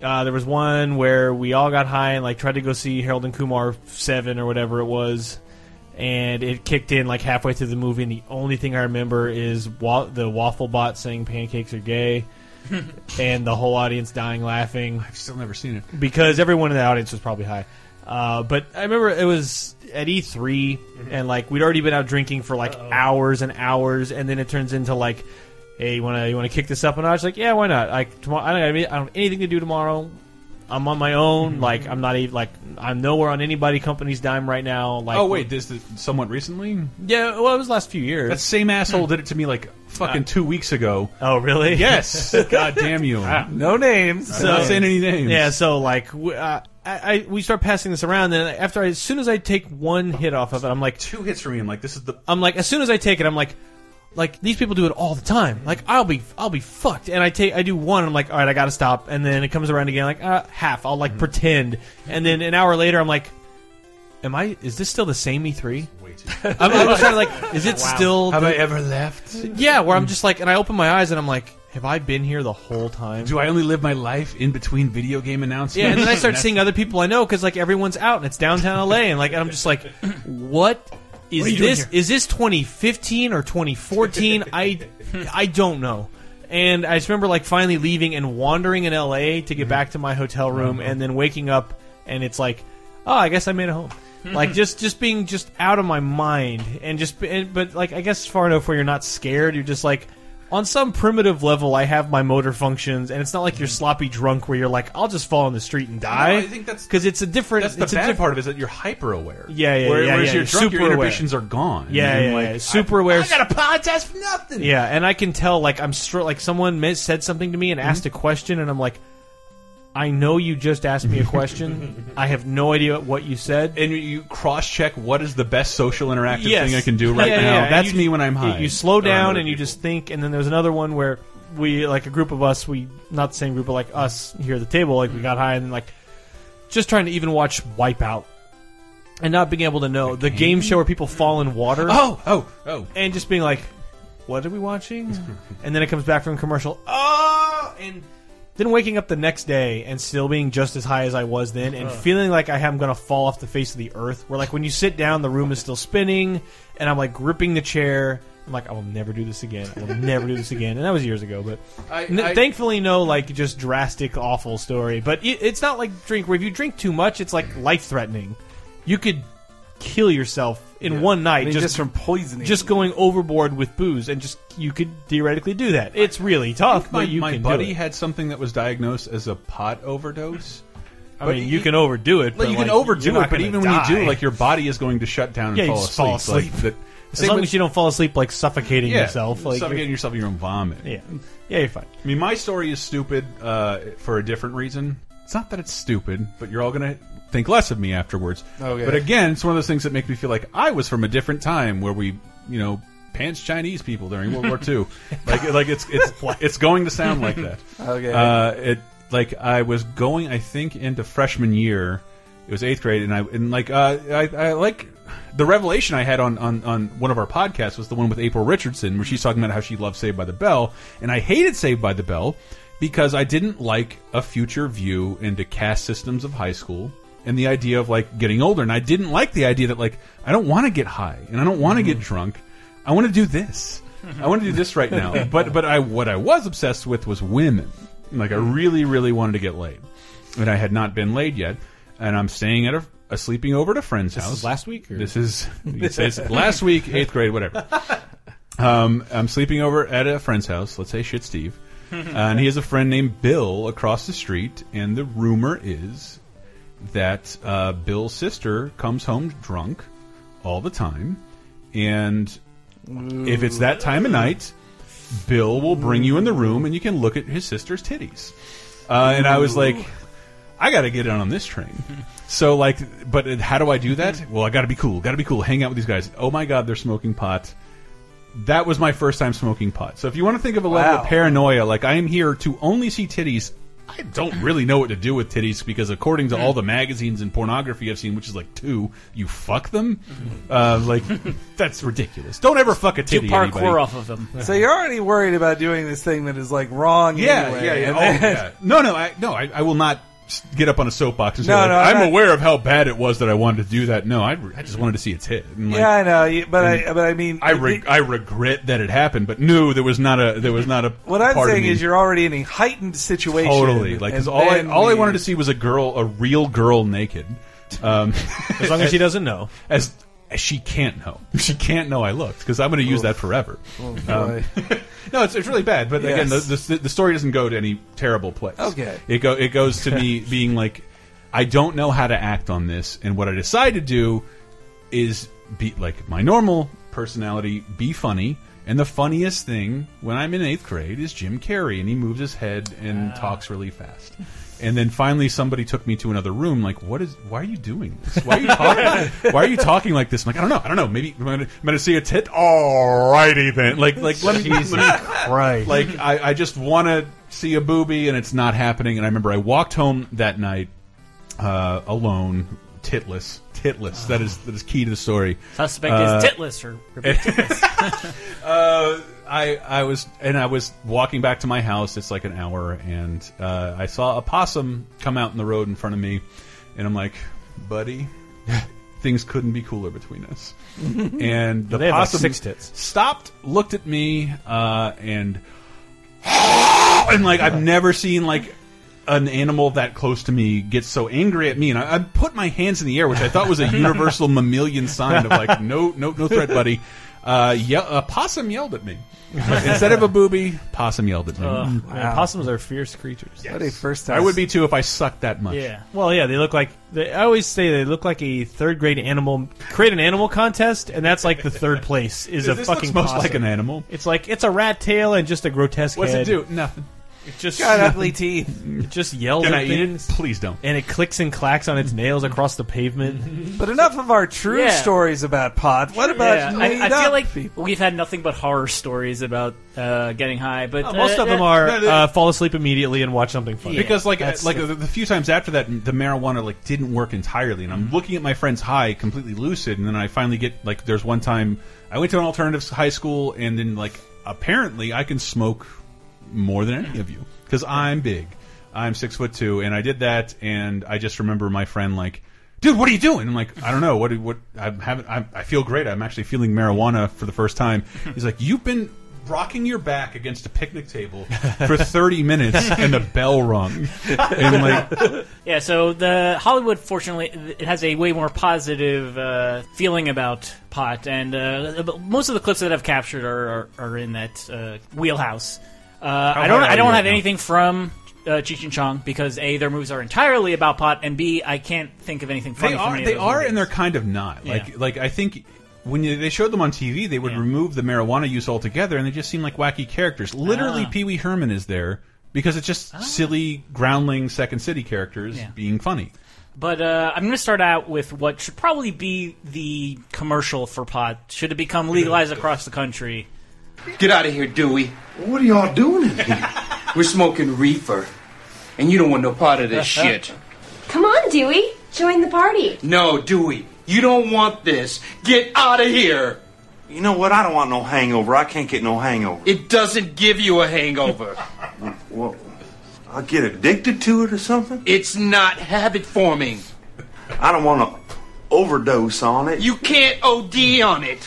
uh, there was one where we all got high and like tried to go see Harold and Kumar Seven or whatever it was, and it kicked in like halfway through the movie. And the only thing I remember is wa- the waffle bot saying pancakes are gay. and the whole audience dying laughing I've still never seen it. because everyone in the audience was probably high. Uh, but I remember it was at E3, and like we'd already been out drinking for like hours and hours, and then it turns into like, hey, you wanna you wanna kick this up a notch? Like, yeah, why not? Like tomorrow, I don't, I, mean, I don't have anything to do tomorrow. I'm on my own. Like I'm not even like I'm nowhere on anybody company's dime right now. Like Oh wait, this is somewhat recently. yeah, well it was the last few years. That same asshole did it to me like Uh, fucking two weeks ago. oh really? Yes, god damn you! I'm No names. not saying any names. Yeah, so like w- uh, I, I we start passing this around, and after I, as soon as I take one hit off of it, I'm like, two hits for me. I'm like, this is the I'm like, as soon as I take it, I'm like, like these people do it all the time. Like I'll be, I'll be fucked. And I take, I do one. I'm like, all right, I gotta stop. And then it comes around again, like uh, half. I'll like pretend. And then an hour later, I'm like, am I? Is this still the same E3? way too. I'm, I'm just trying to like, is it still? Have the- I ever left? yeah, where I'm just like, and I open my eyes and I'm like, have I been here the whole time? Do I only live my life in between video game announcements? Yeah, and then I start That's- seeing other people I know because like everyone's out and it's downtown LA, and like I'm just like, what is What are you doing this? here? Is this 2015 or 2014? I I don't know. And I just remember like finally leaving and wandering in LA Mm-hmm. to get back to my hotel room, Uh-huh. and then waking up and it's like, oh, I guess I made it home. like just just being just out of my mind and just and, but like I guess far enough where you're not scared. You're just like on some primitive level, I have my motor functions, and it's not like you're sloppy drunk where you're like, I'll just fall in the street and die. Mm-hmm. No, I think that's- because it's a different. That's the it's a bad diff- part of it is that you're hyper aware. Yeah, yeah, Whereas yeah, yeah, you're yeah. drunk, Super your aware. inhibitions are gone. Yeah, And yeah, like, yeah. Super aware. I gotta apologize for nothing. Yeah, and I can tell like I'm str- like someone mi- said something to me and Mm-hmm. asked a question, and I'm like, I know you just asked me a question. I have no idea what you said. And you cross check what is the best social interactive thing I can do right Yeah, yeah, now. yeah. And That's you- me when I'm you- high. You, slow Around down other and you people. just think, and then there's another one where we, like a group of us, we not the same group, but like us here at the table, like we got high and like just trying to even watch Wipeout and not being able to know the game show where people fall in water Oh, oh, oh. and just being like, "What are we watching?" and then it comes back from commercial. Oh, and then waking up the next day and still being just as high as I was then, and feeling like I am going to fall off the face of the earth. Where like when you sit down, the room is still spinning, and I'm like gripping the chair. I'm like, I will never do this again. I will never do this again. And that was years ago, but I- n- I- thankfully, no like just drastic awful story. But it, it's not like drink where if you drink too much, it's like life threatening. You could kill yourself in one night I mean, just, just, from poisoning. just going overboard with booze, and just you could theoretically do that. It's really tough, My, but you my can do buddy it. had something that was diagnosed as a pot overdose. I but mean, he- you can overdo it. Like But you like, can you're overdo not it, but gonna even die. when you do, like your body is going to shut down and Yeah, you fall, just asleep. fall Like, asleep. that- as same long with- as you don't fall asleep like suffocating yeah, yourself, like suffocating you're- yourself in your own vomit. yeah, yeah, you're fine. I mean, my story is stupid uh, for a different reason. It's not that it's stupid, but you're all going to think less of me afterwards. Okay. But again, it's one of those things that make me feel like I was from a different time where we, you know, pants Chinese people during World War II. Like, like it's it's it's going to sound like that. Okay. Uh, it like I was going, I think, into freshman year. It was eighth grade, and I and like uh, I, I like the revelation I had on, on on one of our podcasts was the one with April Richardson, where she's talking about how she loved Saved by the Bell, and I hated Saved by the Bell because I didn't like a future view into caste systems of high school and the idea of like getting older, and I didn't like the idea that like I don't want to get high and I don't want to get drunk, I want to do this. I want to do this right now. But but I what I was obsessed with was women. Like I really really wanted to get laid, and I had not been laid yet. And I'm staying at a, a sleeping over at a friend's house. last week or- This is you say it's last week, eighth grade, whatever. Um, I'm sleeping over at a friend's house. Let's say shit, Steve. and he has a friend named Bill across the street. And the rumor is that uh, Bill's sister comes home drunk all the time, and if it's that time of night, Bill will bring you in the room and you can look at his sister's titties. Uh, and I was like, I got to get in on this train. So like, but how do I do that? Well, I got to be cool. Got to be cool. Hang out with these guys. Oh my god, they're smoking pot. That was my first time smoking pot. So if you want to think of a level Wow. of paranoia, like I am here to only see titties. I don't really know what to do with titties because according to all the magazines and pornography I've seen, which is like two, you fuck them. Uh, like that's ridiculous. Don't ever fuck a Do titty. parkour anybody. off of them. so you're already worried about doing this thing that is like wrong. Yeah, anyway, yeah, yeah. and Oh, then- yeah. No, no, I, no. I, I will not s- get up on a soapbox and say, No, like, no, I'm I'm not- aware of how bad it was that I wanted to do that. No, I, re- I just wanted to see its hit. And, like, Yeah, I know, you- but I, but I mean, I, re- I regret that it happened, but no, there was not a there was not a. what I'm part of saying me- is you're already in a heightened situation. totally like 'cause and all I then all I we- wanted to see was a girl, a real girl naked. Um, As long as she doesn't know. as, as she can't know, she can't know I looked because I'm going to use that forever. Boy. um, No, it's, it's really bad. But again, Yes. the, the the story doesn't go to any terrible place. Okay. it go it goes to me being like, I don't know how to act on this, and what I decide to do is be like my normal personality, be funny. And the funniest thing when I'm in eighth grade is Jim Carrey, and he moves his head and talks really fast. And then finally, somebody took me to another room. Like, what is? Why are you doing this? Why are you talking? why are you talking like this? I'm like, I don't know. I don't know. Maybe I'm gonna, I'm gonna see a tit. Alrighty then. Like, like let me, let me Right. Like, like I, I just want to see a booby and it's not happening and i remember i walked home that night uh, alone titless titless that is that is key to the story Suspect Uh, is titless or uh, I I was and I was walking back to my house. It's like an hour, and uh, I saw a possum come out in the road in front of me, and I'm like, buddy, things couldn't be cooler between us. and the They have, like, possum six tits. stopped, looked at me, uh, and and like I've never seen like. An animal that close to me gets so angry at me, and I, I put my hands in the air, which I thought was a universal mammalian sign of like, no, no, no threat, buddy. Uh, ye- a possum yelled at me. Instead of a booby, possum yelled at me. Possums are fierce creatures. What a first time. I would be too if I sucked that much. yeah. Well, yeah, they look like. They, I always say they look like a third grade animal. Create an animal contest, and that's like the third place is a this fucking looks most possum. like an animal. It's like it's a rat tail and just a grotesque What's head. it do? Nothing. It just got ugly teeth. it just yells Can at I eat it? things, Please don't. and it clicks and clacks on its nails across the pavement. But enough of our true Yeah. stories about pot. What about Yeah, I, made I feel up like people? we've had nothing but horror stories about uh, getting high, but uh, Most of them uh, are No, they- uh, fall asleep immediately and watch something funny. Because like That's- like the, the few times after that, the marijuana like didn't work entirely, and I'm looking at my friends high, completely lucid, and then I finally get like there's one time I went to an alternative high school, and then like apparently I can smoke more than any of you because I'm big, I'm six foot two, and I did that, and I just remember my friend like dude, what are you doing? I'm like, I don't know. What? What? I haven't. I, I feel great. I'm actually feeling marijuana for the first time. He's like, you've been rocking your back against a picnic table for 30 minutes, and the bell rung. And like, Yeah, so the Hollywood, fortunately, it has a way more positive uh, feeling about pot, and uh, but most of the clips that I've captured are are, are in that uh, wheelhouse. Uh, I don't high I are you don't right have now? anything from uh, Cheech and Chong because a their movies are entirely about pot, and b I can't think of anything funny. they from are any of they those are movies. and they're kind of not like Yeah. like i think when you, they showed them on TV, they would Yeah. remove the marijuana use altogether, and they just seem like wacky characters. Literally, Ah. Pee Wee Herman is there because it's Ah. just silly, groundling Second City characters Yeah. being funny. But uh, I'm going to start out with what should probably be the commercial for pot. Should it become legalized across the country? Get out of here, Dewey. What are y'all doing in here? We're smoking reefer. And you don't want no part of this shit. Come on, Dewey. Join the party. No, Dewey, you don't want this. Get out of here. You know what? I don't want no hangover. I can't get no hangover. It doesn't give you a hangover. Whoa. I get addicted to it or something? It's not habit forming. I don't want to overdose on it. You can't OD on it.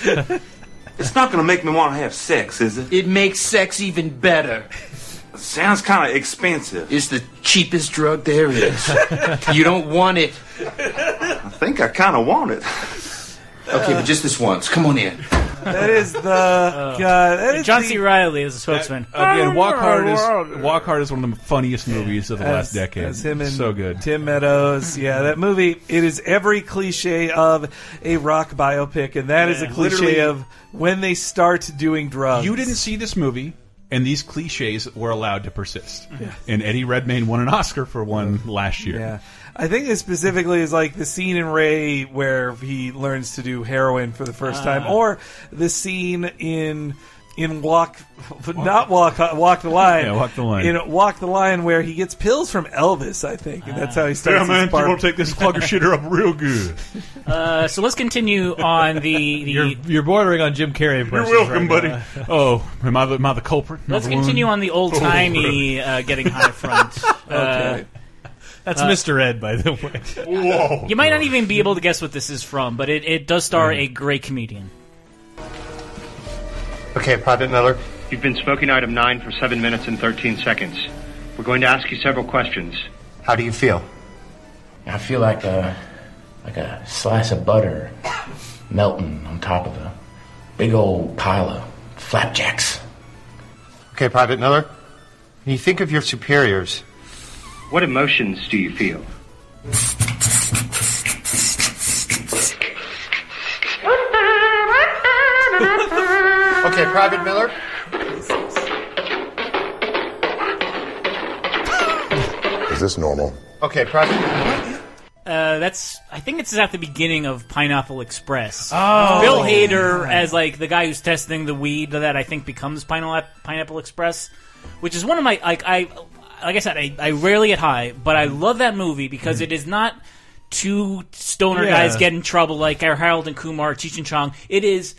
It's not going to make me want to have sex, is it? It makes sex even better. Sounds kind of expensive. It's the cheapest drug there is. you don't want it. I think I kind of want it. Okay, but just this once. Come on in. That is the God. That is Uh, John the- C. Riley is a spokesman. Again, Walk Hard is Walk Hard is one of the funniest movies of the as- last decade. as him and so good. Tim Meadows. Yeah, that movie. It is every cliche of a rock biopic, and that is a Literally- cliche of when they start doing drugs. You didn't see this movie, and these cliches were allowed to persist. And Eddie Redmayne won an Oscar for one last year. Yeah. I think it specifically is like the scene in Ray where he learns to do heroin for the first time, Ah. or the scene in in Walk, not Walk, uh, Walk the Line. Yeah, Walk the Line. In Walk the Line, where he gets pills from Elvis, I think, and that's how he starts. his bar- take this clugger shitter up real good. Uh, so let's continue on the, the You're, you're bordering on Jim Carrey. impressions right uh, now. Oh, am I the, am I the culprit? Am I Let's the one? continue on the old timey uh, getting high front. Uh, That's Mr. Ed, by the way. Whoa. you might not even be able to guess what this is from, but it, it does Mm. star a great comedian. Okay, Private Miller. You've been smoking item 9 for 7 minutes and 13 seconds. We're going to ask you several questions. How do you feel? I feel like a like a slice of butter melting on top of a big old pile of flapjacks. Okay, Private Miller. When you think of your superiors, What emotions do you feel? Okay, Private Miller. Is this normal? Okay, Private. Uh, that's I think it's at the beginning of Pineapple Express. Oh, Bill Hader as like the guy who's testing the weed that I think becomes Pineapple Pineapple Express, which is one of my like I like I said I, I rarely get high, but I love that movie because it is not two stoner Mm-hmm. Yeah. guys get in trouble like our Harold and Kumar, Cheech and Chong. It is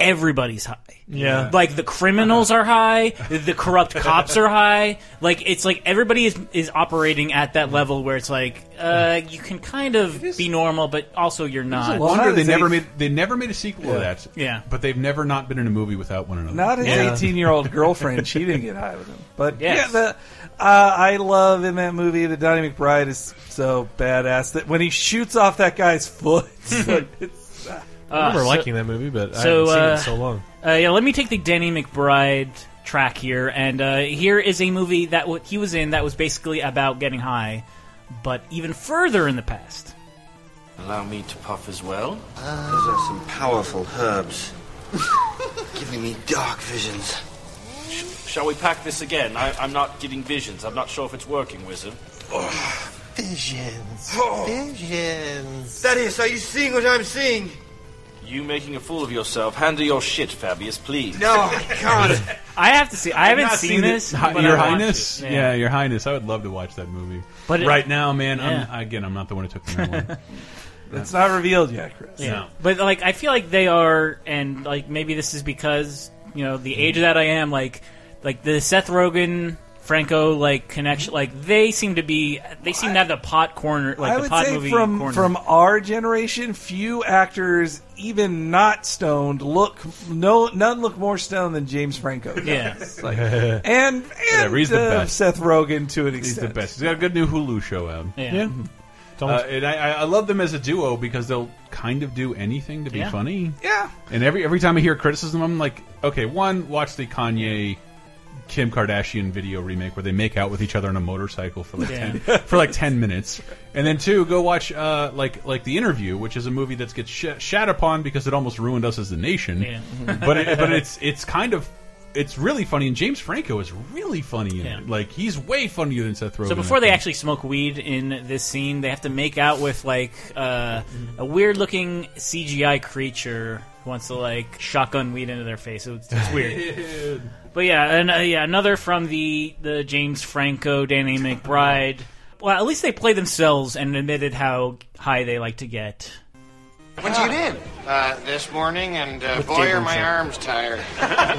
everybody's high. Yeah. Like the criminals Uh-huh. are high, the corrupt cops are high. Like it's like everybody is is operating at that level where it's like uh, you can kind of be normal, but also you're not. Well, wonder how they does never it- made they never made a sequel to that. Yeah. but they've never not been in a movie without one another. Not his Yeah. eighteen-year-old girlfriend. She didn't get high with him, but Yes. yeah, the, uh, I love in that movie that Donnie McBride is so badass that when he shoots off that guy's foot, it's like, it's, I remember so- liking that movie, but I so, haven't seen it uh, in so long. Uh, yeah, let me take the Danny McBride track here, and uh, here is a movie that w- he was in that was basically about getting high, but even further in the past. Allow me to puff as well. Those are some powerful herbs. Giving me dark visions. Shall we pack this again? I, I'm not getting visions. I'm not sure if it's working, Wizard. Oh. Visions. Visions. Oh. That is, are you seeing what I'm seeing? You making a fool of yourself. Handle your shit, Fabius, please. No, I can't. I have to see. I haven't Not seen, it. this. Hi- but I Your want Highness. to. Yeah. Your Highness. I would love to watch that movie. But it- right now, man, Yeah. I'm, again, I'm not the one who took the marijuana. it's not revealed yet, Chris. Yeah. No. But like I feel like they are and like maybe this is because, you know, the age that I am, like like the Seth Rogen Franco like connection. Like they seem to be, they seem to have the pot corner, like I the would pot say movie from corner. from our generation, few actors, even not stoned, look no none look more stoned than James Franco. does. Yeah. like, and and Whatever, he's the uh, best. Seth Rogen to an He's extent. the best. He's got a good new Hulu show out. Yeah. Mm-hmm. Yeah. Uh, and I, I- I love them as a duo because they'll kind of do anything to be Yeah. funny. Yeah. And every every time I hear criticism, I'm like, okay, one, watch the Kanye Kim Kardashian video remake where they make out with each other on a motorcycle for like Yeah. ten for like ten minutes, and then two, go watch uh, like like the interview, which is a movie that gets sh shat upon because it almost ruined us as a nation. Yeah. but it, but it's it's kind of. It's really funny, and James Franco is really funny. In Yeah. it. Like he's way funnier than Seth Rogen. So before I they think. actually smoke weed in this scene, they have to make out with like uh, a weird-looking CGI creature who wants to like shotgun weed into their face. It's, it's weird. but yeah, and uh, yeah, another from the the James Franco, Danny McBride. Well, at least they play themselves and admitted how high they like to get. When'd you get in? Uh, this morning, and uh, boy, Dave are my Winchell. arms tired.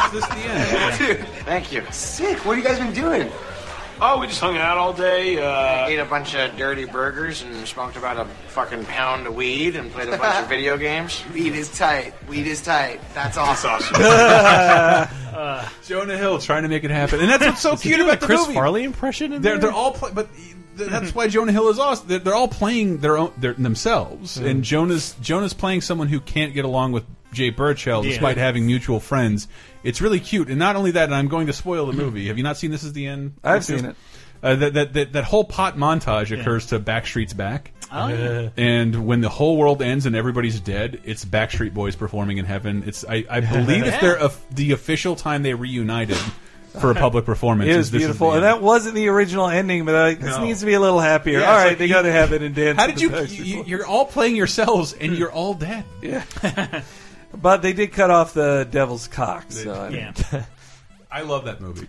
Is this the end? Thank you. Sick. What have you guys been doing? Oh, we just hung out all day. Uh, Ate a bunch of dirty burgers and smoked about a fucking pound of weed and played a bunch of video games. Weed is tight. Weed is tight. That's awesome. Jonah Hill trying to make it happen, and that's what's so cute about the Chris movie. Farley impression in They're there? they're all play, but th- Mm-hmm. that's why Jonah Hill is awesome. They're, they're all playing their own their, themselves, Mm. and Jonah's Jonah's playing someone who can't get along with Jay Burchell despite having mutual friends. It's really cute, and not only that, and I'm going to spoil the movie. Have you not seen this? Is the end? I've seen it. Uh, that, that that that whole pot montage occurs to Backstreet's Back. Uh, Oh, yeah. And when the whole world ends and everybody's dead, it's Backstreet Boys performing in heaven. It's I, I believe it's their of the official time they reunited for a public performance. It is was this is beautiful, the and end. that wasn't the original ending. But I, this No. needs to be a little happier. Yeah, all it's right, like they you- go to heaven and dance. How with did you? the Backstreet you Boys. you're all playing yourselves, and you're all dead. But they did cut off the devil's cock. So I mean, Yeah. I love that movie.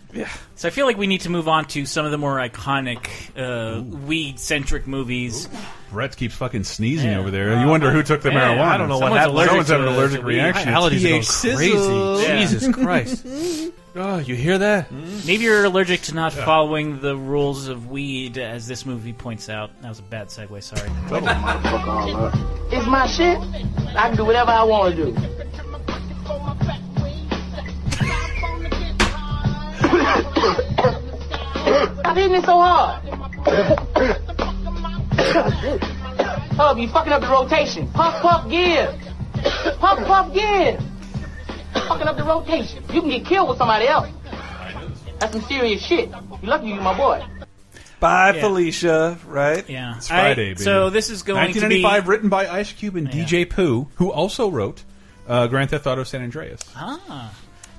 So I feel like we need to move on to some of the more iconic uh, weed-centric movies. Brett keeps fucking sneezing Yeah. over there. You wonder who took the Man, marijuana. I don't know what Someone's happened. allergic Someone's to having an the- allergic the reaction. weed. Allergies TH go crazy. sizzle. Yeah. Jesus Christ. Oh, you hear that? Maybe you're allergic to not following the rules of weed, as this movie points out. That was a bad segue, sorry. It's my shit. I can do whatever I want to do. Stop hitting it so hard. Hub, you fucking up the rotation. Puff, puff, give. Puff, puff, give. Fucking up the rotation. You can get killed with somebody else. That's some serious shit. You lucky you my boy. Bye, Yeah. Felicia. Right? Yeah, it's Friday, baby. So this is going to be. 1995, written by Ice Cube and DJ Pooh, who also wrote uh, Grand Theft Auto San Andreas. Ah.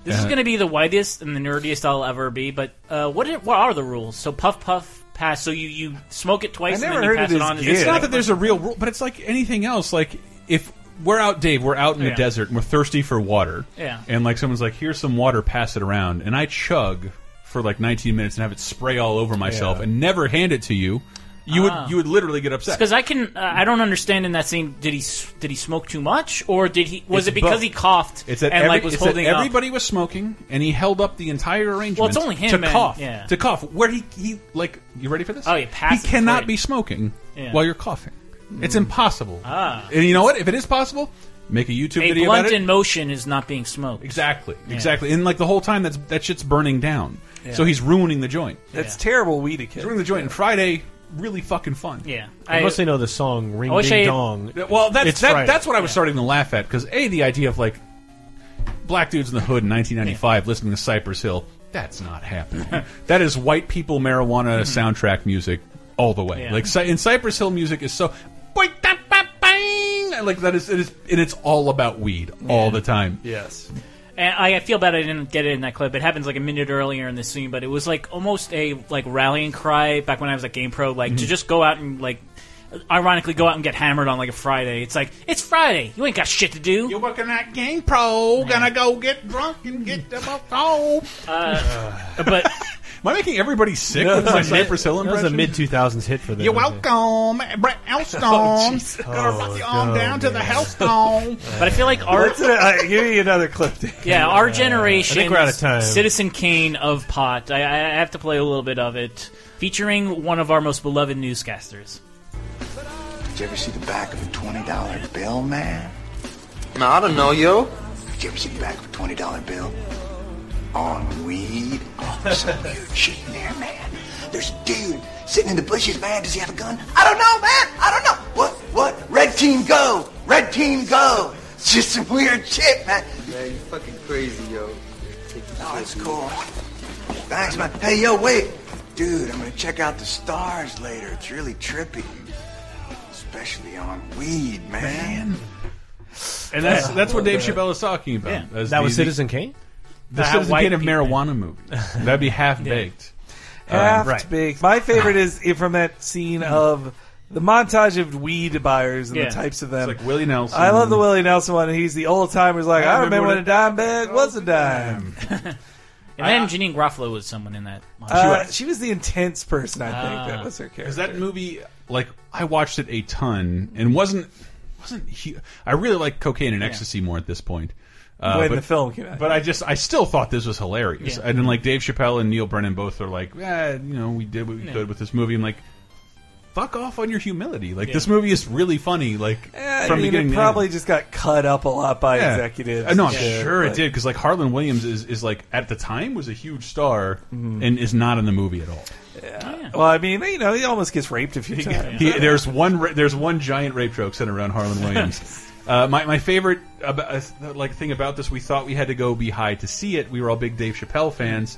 This is Uh, going to be the widest and the nerdiest I'll ever be. But uh, what are, what are the rules? So puff, puff, pass. So you, you smoke it twice I and never then you heard pass of it this on. gig. It's not that there's a real rule, but it's like anything else. Like if we're out, Dave, we're out in the Yeah. desert and we're thirsty for water. Yeah. And like someone's like, "Here's some water, pass it around," and I chug for like 19 minutes and have it spray all over myself and never hand it to you. You Ah. would you would literally get upset. because I can. Uh, I don't understand in that scene. Did he s- did he smoke too much or did he was It's it because both. he coughed It's that, and every, like was it's that holding up? everybody was smoking, and he held up the entire arrangement. Well, it's only to him and- cough. yeah. To cough. Where he he like you ready for this? Oh, yeah, He passive cannot rate. be smoking Yeah. Hmm. while you're coughing. It's impossible. Ah. And you know what? If it is possible, make a YouTube A video blunt about it. in motion is not being smoked. exactly. Exactly. And like the whole time that's that shit's burning down. So he's ruining the joint. That's terrible weed to kill. Ruining the joint. And Friday really fucking fun. Yeah, I, mostly know the song Ring I wish Ding I- Dong. Well, that's It's that, Friday. that's what I was starting to laugh at because a the idea of like black dudes in the hood in 1995 listening to Cypress Hill that's not happening. that is white people marijuana Mm-hmm. soundtrack music all the way. Yeah. Like Cy- and Cypress Hill music is so boing, da, ba, bang. like that is it is and it's all about weed all the time. Yes. And I I feel bad I didn't get it in that clip. It happens like a minute earlier in the scene, but it was like almost a like rallying cry back when I was at Game Pro, Mm-hmm. like to just go out and like, ironically, go out and get hammered on like a Friday. It's like it's Friday, you ain't got shit to do. You're working at Game Pro, gonna go get drunk and get the phone. But Oh. Am I making everybody sick with my Cypress Hill That was impression? a mid two thousands hit for them. You're welcome, Brett Elstone. Oh, Jesus. Gonna rock you on no, down to the Hellstone. But I feel like our Let's, uh, give me another clip. Dave. yeah, our generation. I think we're out of time. Citizen Kane of pot. I, I have to play a little bit of it, featuring one of our most beloved newscasters. Did you ever see the back of a $20 bill, man? No, I don't know you. Did you ever see the back of a $20 bill? On weed? Oh, some weird shit in there, man. There's a dude sitting in the bushes, man. Does he have a gun? I don't know, man. I don't know. What? What? Red team go. Red team go. It's just some weird shit, man. Man, you fucking crazy, yo. Oh, that's cool. Thanks, man. Hey, yo, wait. Dude, I'm gonna check out the stars later. It's really trippy. Especially on weed, man. And that's Yeah. that's what Dave Yeah. Chappelle is talking about. Yeah. as That the- was the- Citizen Kane? The Uh, Citizen white Kane of people. marijuana movie. That'd be half baked. Half right. Mm-hmm. baked. My favorite is i- from that scene of the montage of weed buyers and Yeah. the types of them. It's like Willie Mm-hmm. Nelson. I love the Willie Nelson one. He's the old timer's like, I, remember when a dime Oh, bag was a dime. And then Janine Garofalo was someone in that. Uh, she was the intense person, I think. Ah. that was her character. Because that movie, like, I watched it a ton and wasn't wasn't he, I really like cocaine and ecstasy more at this point. Uh, When the film came out. Ah, but I just I still thought this was hilarious. Yeah. And then like Dave Chappelle and Neil Brennan both are like, eh, you know, we did what we Yeah. could with this movie. I'm like, fuck off on your humility. Like Yeah. this movie is really funny. Like Yeah, Eh, I from mean, beginning it to end. probably just got cut up a lot by Yeah. executives. Uh, No, I'm Yeah, sure it but- did because like Harlan Williams is is like at the time was a huge star Mm-hmm. and is not in the movie at all. Well, I mean, you know, he almost gets raped a few times. He, there's one ra- there's one giant rape joke centered around Harlan Williams. Uh, my my favorite about, uh, like thing about this, we thought we had to go be high to see it. We were all big Dave Chappelle fans,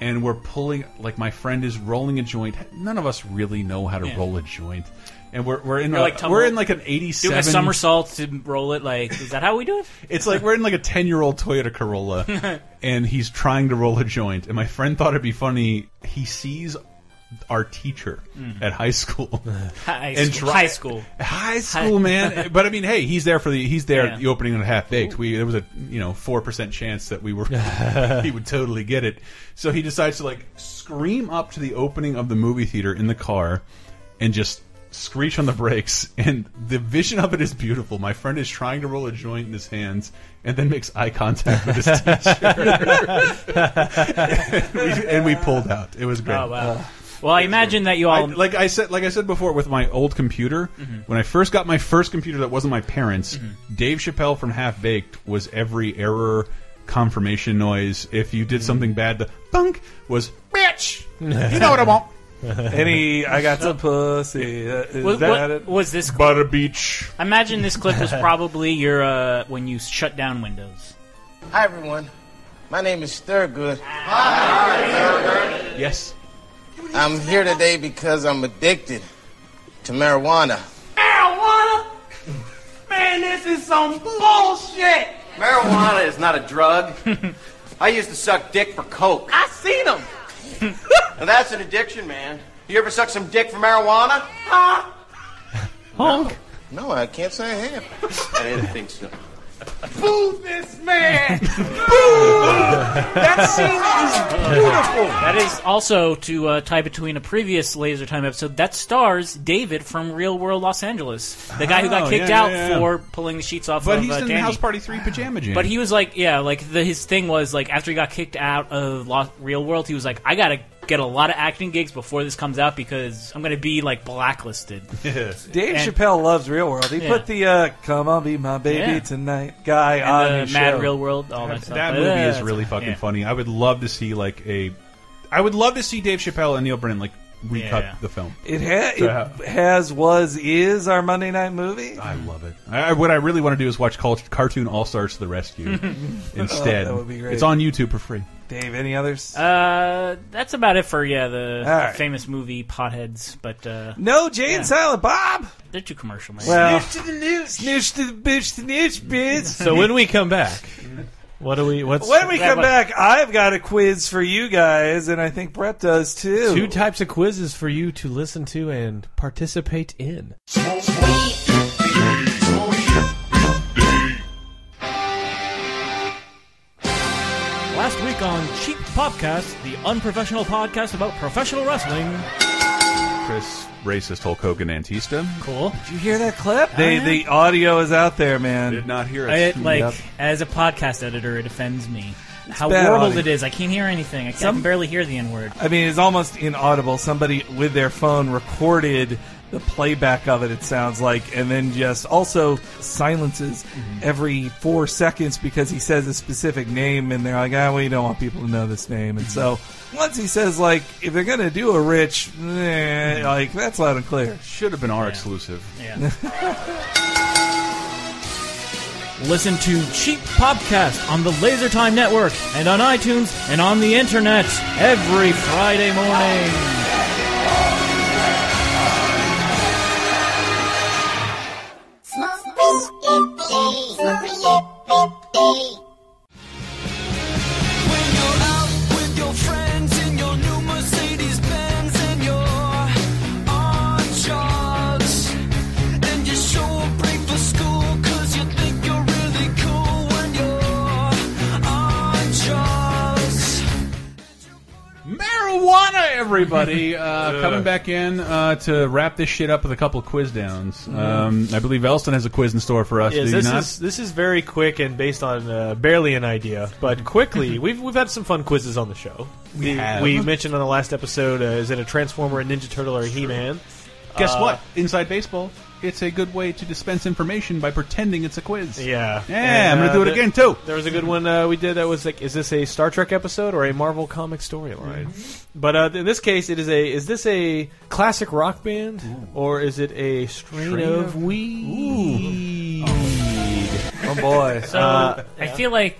and we're pulling like my friend is rolling a joint. None of us really know how to Yeah. roll a joint, and we're we're in You're a- like tumble- we're in like an Doing a 87 somersault to roll it. Like, is that how we do it? It's like we're in like a 10 year old Toyota Corolla and he's trying to roll a joint. And my friend thought it'd be funny. He sees our teacher Mm. at high school. High And school. dri- High school. High school, man. But I mean, hey, he's there for the he's there Yeah. at the opening of half baked. We there was a you know four percent chance that we were he would totally get it. So he decides to like scream up to the opening of the movie theater in the car, and just screech on the brakes. And the vision of it is beautiful. My friend is trying to roll a joint in his hands, and then makes eye contact with his teacher. we, and we pulled out. It was great. Oh wow. Well, I imagine that you I, all Um, like I said, like I said before, with my old computer, Mhm. when I first got my first computer that wasn't my parents', Mm-hmm. Dave Chappelle from Half Baked was every error confirmation noise. If you did something bad, the bunk was bitch. You know what I want. Any, I got some pussy. Uh, is What- that what- it? was this Butter Beach? I imagine this clip was probably your uh, when you shut down Windows. Hi, everyone. My name is Thurgood. Yes. I'm here today because I'm addicted to marijuana. Marijuana? Man, this is some bullshit. Marijuana is not a drug. I used to suck dick for coke. I seen him. Now that's an addiction, man. You ever suck some dick for marijuana? Huh? Honk. No, I can't say I have. I didn't think so. Boo this man. Boo. That scene is beautiful. That is also to uh, tie between a previous Laser Time episode that stars David from Real World Los Angeles, the guy who Oh, got kicked yeah, out yeah, yeah. for pulling the sheets off. But of, he's uh, in Danny. House Party Three pajama jam. But he was like, yeah, like the, his thing was like after he got kicked out of Lo- Real World, he was like, I gotta get a lot of acting gigs before this comes out because I'm gonna be like blacklisted. Dave And- Chappelle loves Real World. He Yeah. put the uh, "Come on, be my baby Yeah. tonight" guy And on the his Mad show. Real World, all that stuff. that But, movie uh, is really it's- fucking yeah. funny. I would love to see like a, I would love to see Dave Chappelle and Neil Brennan like recut Yeah. the film. It, ha- So how- it has, was, is our Monday night movie. I Mm-hmm. love it. I, I- what I really want to do is watch cult, Cartoon All Stars to the Rescue instead. Oh, that would be great. It's on YouTube for free. Dave, any others? Uh, that's about it for yeah the All right. famous movie potheads. But uh, No, Jay and Silent Bob. they're too commercial, man. Well, Snitch to the news, snitch to the bitch, to the bitch, bitch. So when we come back, what do we? Mm. What's When we come back, I've got a quiz for you guys, and I think Brett does too. Two types of quizzes for you to listen to and participate in. Last week on Cheap Podcast, the unprofessional podcast about professional wrestling. Chris, racist Hulk Hogan Antista. Cool. Did you hear that clip? They, I- the audio is out there, man. Did not hear I, like Yep. as a podcast editor, it offends me how bad horrible audio. it is. I can't hear anything. I can Some- barely hear the N word. I mean, it's almost inaudible. Somebody with their phone recorded the playback of it, it sounds like, and then just also silences Mm-hmm. every four seconds because he says a specific name, and they're like, ah, we don't want people to know this name. And so Mm-hmm. once he says, like, if they're going to do a rich, eh, Mm-hmm. like, that's loud and clear. Should have been our exclusive. Yeah. Listen to Cheap Podcast on the Laser Time Network and on iTunes and on the internet every Friday morning. Marijuana, everybody. Uh, coming back in uh, to wrap this shit up with a couple of quiz downs. Um, I believe Elston has a quiz in store for us. Yes, do you this not? is this is very quick and based on uh, barely an idea, but quickly we've we've had some fun quizzes on the show. We have. we mentioned on the last episode uh, is it a Transformer, a Ninja Turtle, or a He Man? Guess what? Inside baseball, it's a good way to dispense information by pretending it's a quiz. Yeah, Yeah, I'm going to do it again, too. There was a good one uh, we did that was like, is this a Star Trek episode or a Marvel comic storyline? But uh, in this case, it is a is this a classic rock band or is it a strain, Strain of, of weed? Oh, boy. So Uh, I feel like.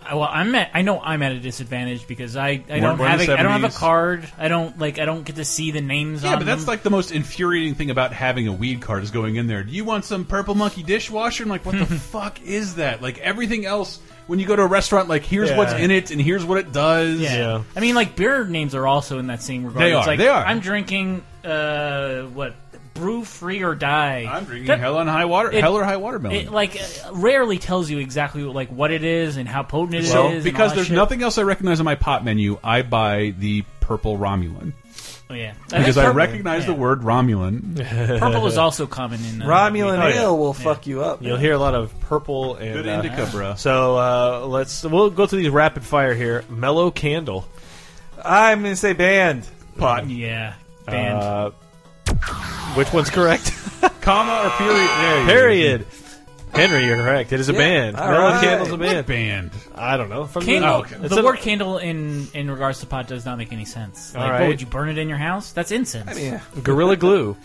uh, Well, I'm at, I know I'm at a disadvantage because I, I We're- don't we're in have the a, I don't have a 70s. card. I don't like I don't get to see the names. Yeah, on but that's them. like the most infuriating thing about having a weed card is going in there. Do you want some Purple Monkey dishwasher? I'm like, what the fuck is that? Like everything else, when you go to a restaurant, like here's Yeah. what's in it and here's what it does. Yeah. I mean, like beer names are also in that same regard. They It's are, Like, they are. I'm drinking uh, what brew free or die. I'm drinking Hell on High Water- Hell or High Watermelon. It like uh, rarely tells you exactly like what it is and how potent it is. So and all because that there's shit. nothing else I recognize on my pot menu, I buy the purple Romulan. Oh, yeah. I think Because I purple- recognize the yeah. word Romulan. Purple is also common in uh, Romulan meat. ale will fuck you up. You'll hear a lot of purple and Good uh, indica, bro. So uh, let's we'll go through these rapid fire here. Mellow Candle. I'm going to say band. Pot. Yeah. Band. Uh, which one's correct? Comma or period? There you go. period. Henry, you're correct. It is a Yeah, band. all Mellow right. Candle's a What band. band? I don't know. From Candle, the, Oh, okay. It's The an- word candle in in regards to pot does not make any sense. All Like, right. what, would you burn it in your house? That's incense. I mean, yeah. Oh, Gorilla Glue.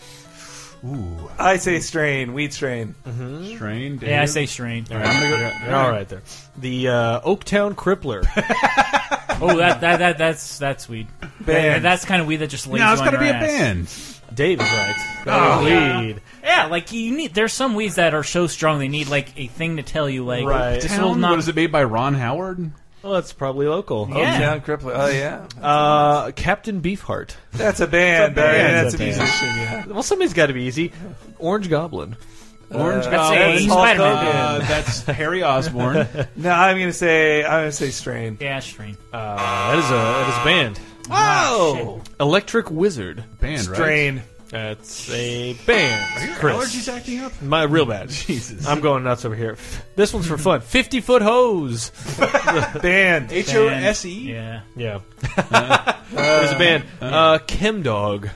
Ooh. I say strain, weed strain. Mm-hmm. Strain. Yeah, I Dave? say strain. All right, You're- you're all right there. The uh, Oaktown Crippler. oh, that, that that that's that's weed. That- that's kind of weed that just lays. you on your ass. Dave is right. Oh, yeah. weed. Yeah, like you need. There's some weeds that are so strong they need like a thing to tell you. Like Right. this will Town? not. What is it made by Ron Howard? Well, that's probably local. Yeah. Oaktown Crippler. Oh, yeah. Uh, Captain Beefheart. That's a band, It's a Barry. band. That's a It's musician, yeah. Well, somebody's got to be easy. Orange Goblin. Orange Uh, Goblin. Oh, that's a Spider-Man band. Uh, that's Harry Osborn. no, I'm gonna say I'm gonna say strain. Yeah, strain. Uh, that is a that is a band. Oh, Electric Wizard. Band, right? Strain. That's a band. Are your Chris. allergies acting up? My real bad. Jesus. I'm going nuts over here. This one's for fun. Fifty foot hose. band. H O S E. Yeah. Yeah. There's a band. Uh, Chem Dog.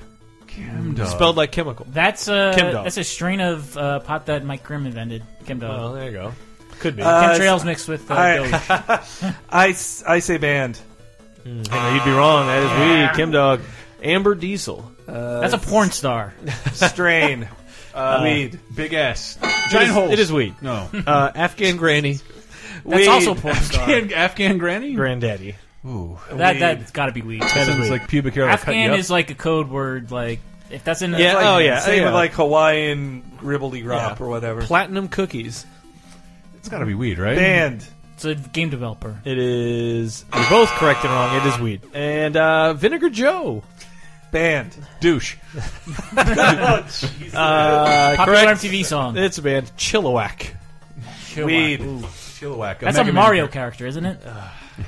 Chem Dog. Spelled like chemical. That's a Chem Dog. that's a strain of uh, pot that Mike Grimm invented. Chem dog. Well, Oh, there you go. Could be. Uh, Chemtrails mixed with uh, doge. I, I s- I say band. Henry, you'd be wrong. That is weed. Chem Dog. Amber Diesel. That's a porn star. Strain. Uh, weed. Big ass. It Giant is- holes. It is weed. No. Uh, Afghan Granny. That's also porn star. Afghan, Afghan granny? Granddaddy. Ooh. That that's got to be weed. That sounds weed. like pubic hair. will cut you Afghan up. is like a code word. Like if that's in Yeah, like, oh, yeah. Same yeah. with like Hawaiian ribbledy rop Yeah. or whatever. Platinum Cookies. It's got to be weed, right? Band. It's a game developer. It is. You're both correct and wrong. It is weed. And uh, Vinegar Joe. Band. Douche. Uh, Popular correct. MTV song. It's a band. Chilliwack. Chilliwack. Weed. Ooh. Chilliwack. That's a Mega Man. Mario character, isn't it?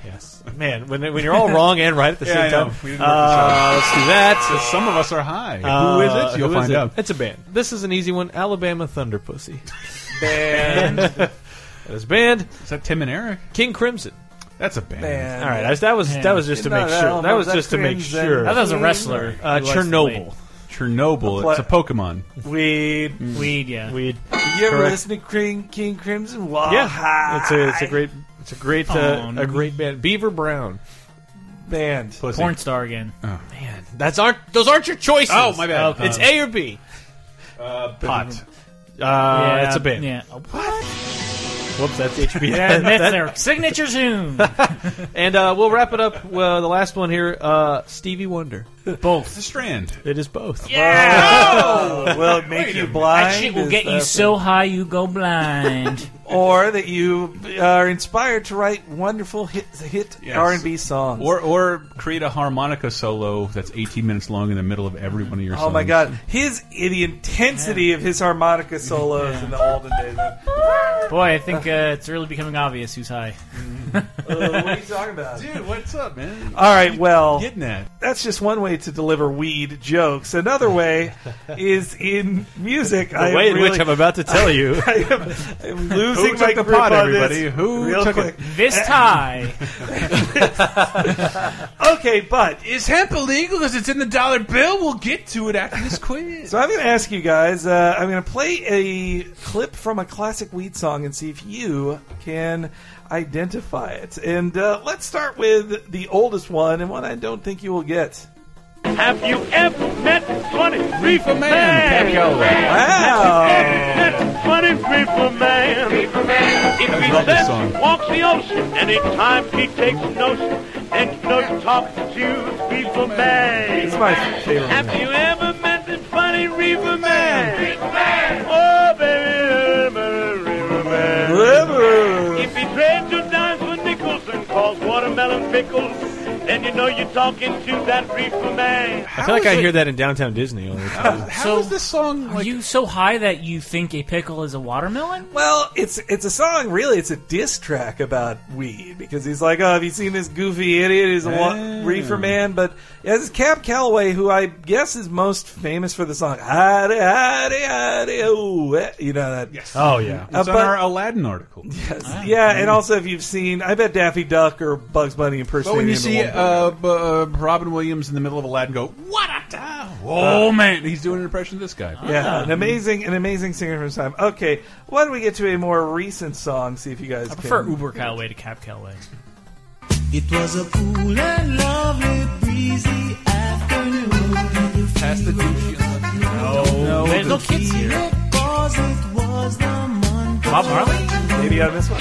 Yes. Man, when, when you're all wrong and right at the Yeah, I same know. time. We didn't work this Uh, out. let's do that. some of us are high. Who is it? Uh, You'll Uh, who is find it? out. It's a band. This is an easy one. Alabama Thunder Pussy. Band. that is band. Is that Tim and Eric? King Crimson. That's a band. All right, I- that was that was just to make sure. That was just to make sure. Uh, Chernobyl. Chernobyl. It's a Pokemon. Weed. Weed, yeah. Weed. You ever Mm, Correct. listen to King, King Crimson? Wow. Yeah, it's a it's a great it's a great uh, Oh, a great band. Beaver Brown band. Porn star again. Man, that's aren't those aren't your choices. Oh, my bad. It's A or B. Uh, pot. Uh, Yeah, it's a band. yeah. Oh, What? Whoops, that's HB. Yeah, and that's their signature tune. and uh, we'll wrap it up. Well, the last one here, uh, Stevie Wonder. Both. The Strand. It is both. Yeah! Uh, Will it make you blind? That shit will Is get you that- so high you go blind. or that you uh, are inspired to write wonderful hit, hit Yes. R&B songs. Or or create a harmonica solo that's 18 minutes long in the middle of every one of your songs. Oh my god, his the intensity of his harmonica solos in the olden days. Uh, Boy, I think uh, it's really becoming obvious who's high. what are you talking about? Dude, what's up, man? All right, well, getting at? that's just one way to deliver weed jokes. Another way is in music. The I way in really, which I'm about to tell you. I am, I'm losing Who took my the grip pot, on everybody? This Who real took quick. it? This tie. okay, but is hemp illegal because it's in the dollar bill? We'll get to it after this quiz. So I'm going to ask you guys. Uh, I'm going to play a clip from a classic Weed song and see if you can identify it. And uh, let's start with the oldest one and one I don't think you will get. Have you ever met funny reefer man? Wow! Funny reefer man. If I he love this left, song. walks the ocean, anytime he takes notion, and no talk to reefer man. It's my favorite. Have you ever met this funny reefer man? Oh, baby, baby, reefer man. If he trades your dimes for nickels and calls watermelon pickles, then you know you're talking to that reefer man. I feel like I hear that in downtown Disney all the time. so, this song? Are you so high that you think a pickle is a watermelon? Well, it's it's a song. Really, it's a diss track about weed because he's like, "Oh, have you seen this goofy idiot? He's a wa- reefer man." But yeah, this is Cab Calloway, who I guess is most famous for the song "Howdy, howdy, howdy." Oh, eh," you know that? Yes. Oh, yeah. It's on our uh, Aladdin article. Yes. Yeah, and also if you've seen, I bet Daffy Duck or Bugs Bunny But impersonating. when you him at see one point. uh, b- uh, Robin Williams in the middle of Aladdin go, what a time! Oh, man. He's doing an impression of this guy. Yeah, an amazing, an amazing singer from his time. Okay, why don't we get to a more recent song? See if you guys I prefer can. Uber Callaway to Cab Callaway. It was a cool and lovely breezy afternoon. Past the No, no, there's no kids here. Cause it was the month Bob Marley? Maybe on this one.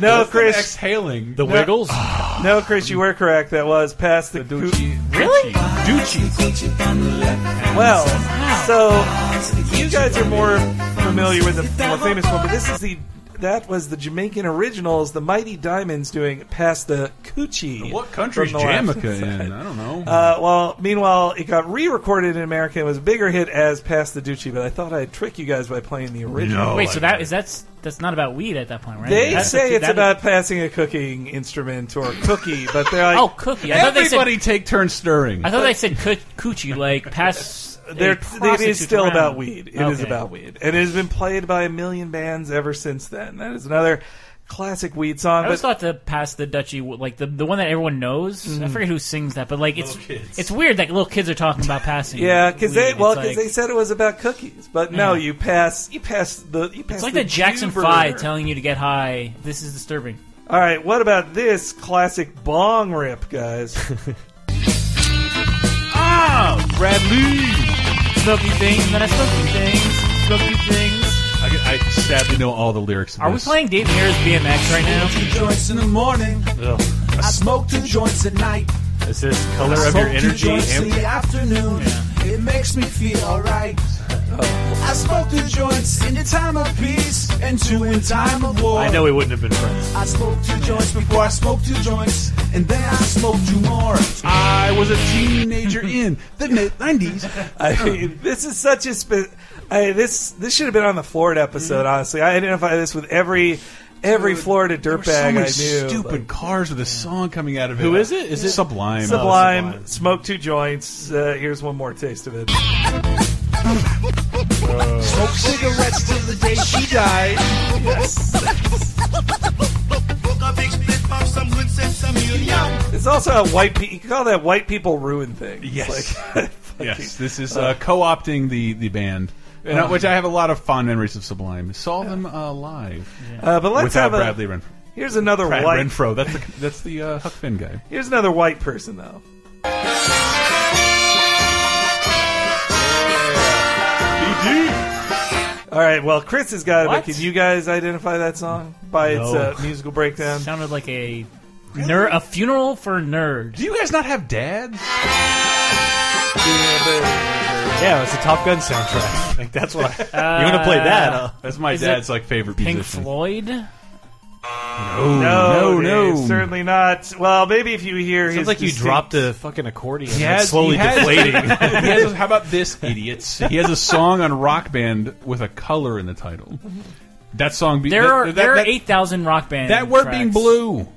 No, What's the Chris. next hailing? No- no, Chris, you were correct. That was past the, Ducci. Really? Ducci. Well, so you guys are more familiar with the more famous one, but this is the that was the Jamaican originals, the Mighty Diamonds, doing past the Coochie. What country's from the left. Jamaica in? I don't know. Uh, well, meanwhile, it got re-recorded in America and was a bigger hit as "Past the Ducci," but I thought I'd trick you guys by playing the original. Wait, so that is that's that's not about weed at that point, right? They That's say the- it's that- about passing a cooking instrument or cookie, but they're like, Oh, cookie. I thought they said- Everybody take turns stirring. I thought they said coo- coochie, like pass. a They're, it prostitute is still around. about weed. It is Okay. about weed, and it has been played by a million bands ever since then. That is another classic weed song. I always thought But the pass the Dutchie, like the the one that everyone knows. I Mhm. forget who sings that, but like it's Little kids. it's weird that little kids are talking about passing. yeah, because weed. they well, It's because like- they said it was about cookies, but no, Yeah. you pass, you pass the, you pass. it's like the, Jackson Juber. Five telling you to get high. This is disturbing. All right, what about this classic bong rip, guys? Ah, Bradley, smoky things, and then I smoky things, smoky things. I, I sadly know all the lyrics. to Are we this. playing Dave Mirra's BMX right now? Joints in the morning. Ugh. I smoke two joints at night. Is this I color of your smoke two energy? joints in amp- the afternoon. It makes me feel alright. I smoke two joints in the time of peace and two in time of war. I know we wouldn't have been friends. I smoked two joints before I smoked two joints, and then I smoked two more. I was a teenager in the mid nineties. I mean, this is such a. Spe- I, this this should have been on the Florida episode. Honestly, I identify this with every every Florida dirtbag so I many knew. stupid cars with a song coming out of it. Who is it? Is it Sublime? Sublime, smoke two joints. Uh, here's one more taste of it. Smoke cigarettes till the day she died. Yes. It's also a white. Pe- you can call that white people ruin thing. Yes. Like, Yes, this is uh, co-opting the the band, and, Uh, uh, which I have a lot of fond memories of Sublime. Saw them uh, live, Uh, but let's without have a- Bradley Renfro. here's another Brad white- Renfro. That's the, that's the uh, Huck Finn guy. here's another white person though. All right. Well, Chris has got it. But What? can you guys identify that song by No. its uh, musical breakdown? Sounded like a ner- a funeral for nerds. Do you guys not have dads? Yeah, it's a Top Gun soundtrack. Like that's what I, Uh, you want to play that? Huh? That's my Is dad's it like favorite Pink musician. Floyd. no, Dave, no. certainly not. Well, maybe if you hear, Sounds his like you distinct- dropped a fucking accordion. He It's has- slowly he has- deflating. he has a- how about this, idiots? He has a song on Rock Band with a color in the title. That song. Be, There that- are that, there are that- eight thousand rock bands. That word being blue,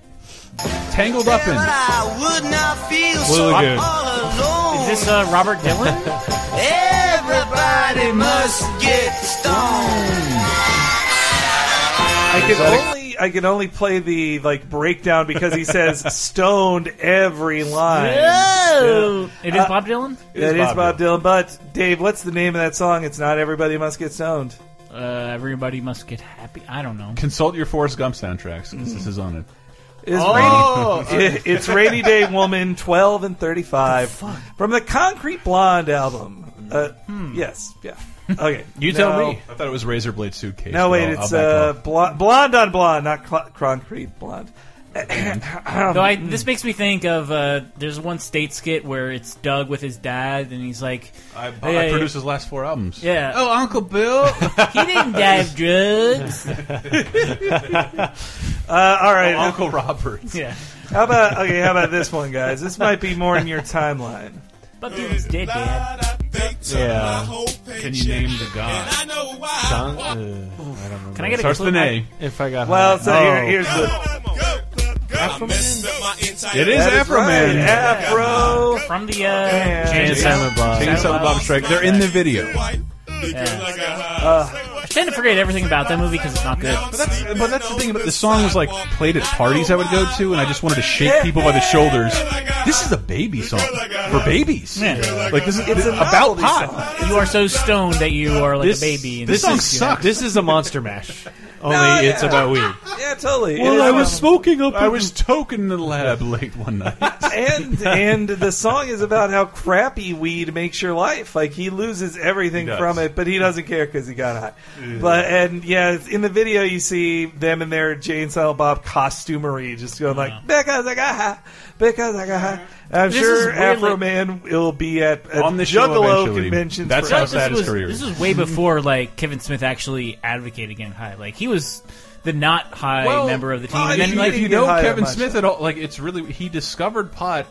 tangled up in. I would not feel so Really good. all alone. Is this uh, Robert Dylan? Everybody must get stoned. I can only I can only play the like breakdown because he says stoned every line. No. Yeah. It is Uh, Bob Dylan. That is Bob Dylan. But Dave, what's the name of that song? It's not "Everybody Must Get Stoned." Uh, everybody must get happy. I don't know. Consult your Forrest Gump soundtracks 'cause this is on it. It's, Oh! rainy, It- it's rainy day woman twelve and thirty five from the Concrete Blonde album. Uh, Hmm. Yes, yeah. Okay, No. Oh, I thought it was Razor Blade Suitcase. No, but wait, I'll- it's I'll back uh, blo- off. blonde on blonde, not cl- concrete blonde. Though I, this makes me think of uh, there's one state skit where it's Doug with his dad, and he's like, uh, I, I "Hey, produced his last four albums. Yeah. Oh, Uncle Bill. he didn't have drugs. Uh, all right, Oh, Uncle Roberts. Yeah. How about okay? How about this one, guys? This might be more in your timeline. But dude was dickhead. Yeah. Can you name the god? Don- uh, I don't remember. Can I get a Starts clue? the nay. If I got Well, high. Oh. so here, here's the. It is That is Afro right, Man. Afro from the uh, Jane Silent Bob. Jane Silent Bob Strike. They're in the video. I tend to forget everything about that movie because it's not good. Uh, But that's, but that's the thing. about The song was like played at parties I would go to, and I just wanted to shake people by the shoulders. This is a baby song for babies. Yeah. Like this is it's about pot. You are so stoned that you are like This- a baby. and this it's song just, you know, sucks. This is a monster mash. Only No, it's yeah. about weed. Yeah, totally. Well, It is I was about- smoking up. I was token in the lab late one night. and and the song is about how crappy weed makes your life. Like he loses everything He does. from it, but he doesn't care because he got high. Yeah. But and yeah, it's- in the video you see them in their Jane Silent Bob costumery, just going like because I got high, because I got high. I'm This is sure weirdly- Afro Man will be at, at On the show Juggalo eventually. conventions. That's for how us. sad his was- career This is. was way before like Kevin Smith actually advocated getting high. Like he was the not high Well, member of the team. well, and if then you- like if you know high that Kevin much. Smith at all, like it's really he discovered pot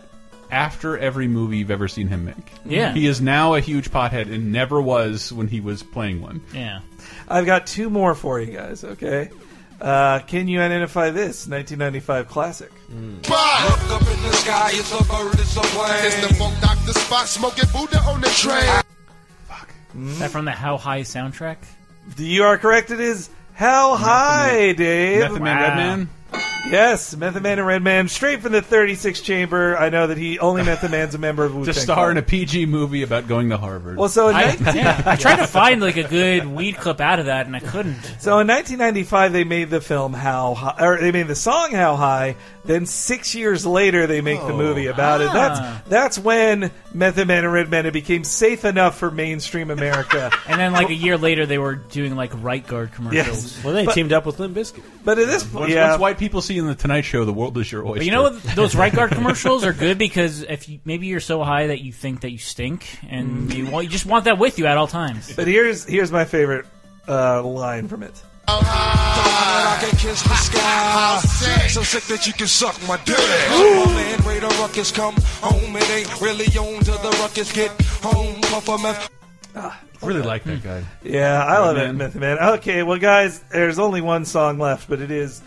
after every movie you've ever seen him make. Yeah. he is now a huge pothead and never was when he was playing one. yeah. I've got two more for you guys. Okay, uh, can you identify this 1995 classic? Look up in the sky, it's a bird, it's a plane. It's the funk doctor spot, smoking Buddha on the train. Is that from the How High soundtrack? You are correct. It is how high, Dave? Method Man, Wow. Redman? Yes, Method Man and Redman, straight from the 36 chamber. I know that he only Method Man's a member of Wu To star in a PG movie about going to Harvard. Well, so in, I, 19 yeah, I tried to find like a good weed clip out of that, and I couldn't. so in 1995 they made the film How High, or they made the song How High. Then six years later they make Oh, the movie about it. Ah. That's that's when Method Man and Redman it became safe enough for mainstream America. And then like a year later, they were doing like right guard commercials. Yes. Well, they But- teamed up with Limp Bizkit. but at this point, once, yeah, once white people see in the Tonight Show, the world is your oyster. But you know what? Those right guard commercials are good because if you, maybe you're so high that you think that you stink, and Mm. you, want, you just want that with you at all times. but here's here's my favorite uh, line from it. I can kiss the sky. So sick that you can suck my dick. My man, Raider Ruckus, come home. It ain't really on till the ruckus get home. Puff a meth. Really like that guy. Yeah, I love Man. it, Method Man. Okay, well, guys, there's only one song left, but it is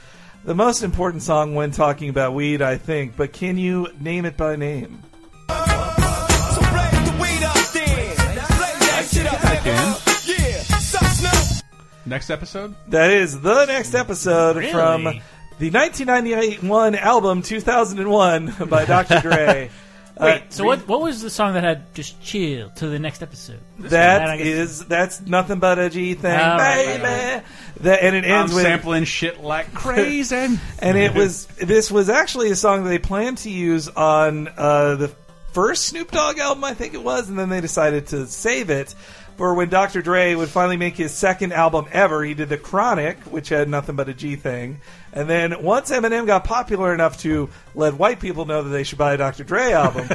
the most important song when talking about weed, I think. But can you name it by name? Next episode? That is the next episode Really? from the 1991 album 2001 by Dr. Dre. Uh, Wait, so what? What was the song that had just chill to the next episode? That is that's nothing but a G thing, Oh, right, baby. right, right. That and it I'm ends with sampling shit like crazy. and it was this was actually a song they planned to use on uh, the first Snoop Dogg album, I think it was, and then they decided to save it for when Dr. Dre would finally make his second album ever. He did the Chronic, which had nothing but a G thing, and then once Eminem got popular enough to let white people know that they should buy a Dr. Dre album,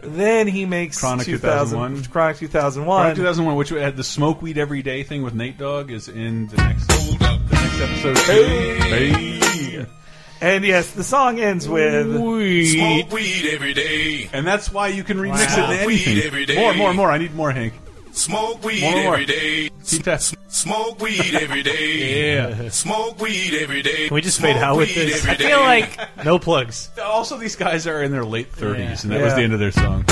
then he makes Chronic 2000, 2001. Chronic 2001. Product 2001, which had the smoke weed every day thing with Nate Dogg, is in the next the next episode. Hey. And yes, the song ends with Smoke weed every day, and that's why you can remix Wow. it to Smoke weed anything. every day. More, more, more. I need more, Hank. Smoke weed More, more. every day. Keep that. Smoke weed every day. Yeah. Smoke weed every day. Can we just Smoke fade out with weed this? every I day. feel like- No plugs. Also, these guys are in their late 30s, and that Yeah. was the end of their song.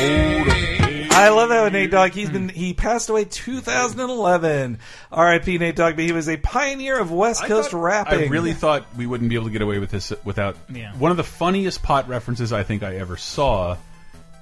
I love that with Nate Dogg. He's been he passed away 2011. R.I.P. Nate Dogg, but he was a pioneer of West Coast rapping. I really thought we wouldn't be able to get away with this without Yeah. one of the funniest pot references I think I ever saw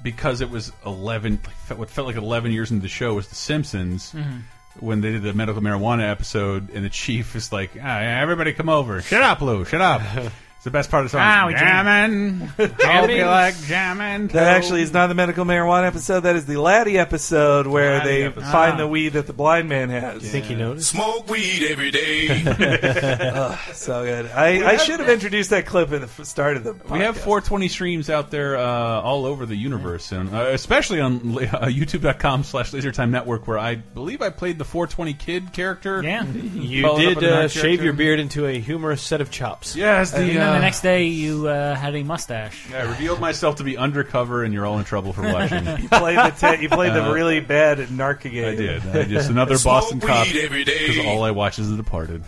because it was 11 like, fe- what felt like 11 years into the show was the Simpsons Mhm. when they did the medical marijuana episode and the chief is like ah, yeah, everybody come over shut up Lou shut up it's the best part of the song Ah, we jammin' I'll be like jammin' That actually is not the medical marijuana episode. That is the Laddie episode where Laddie they episode. find Ah. the weed that the blind man has. Think you noticed? Smoke weed every day. Ugh, so good. I, I should have introduced that clip at the f- start of the. We have 420 streams out there uh, all over the universe, and uh, especially on la- uh, YouTube.com slash LaserTime Network, where I believe I played the 420 kid character. Yeah, You did uh, shave your beard into a humorous set of chops. Yes, the, and then uh, the next day you uh, had a mustache. I revealed myself to be undercover, and you're all in trouble for watching. You played the te- you played the Uh, really bad Narca game. I did. I just another Smoke Boston weed cop every day. because all I watch is The Departed.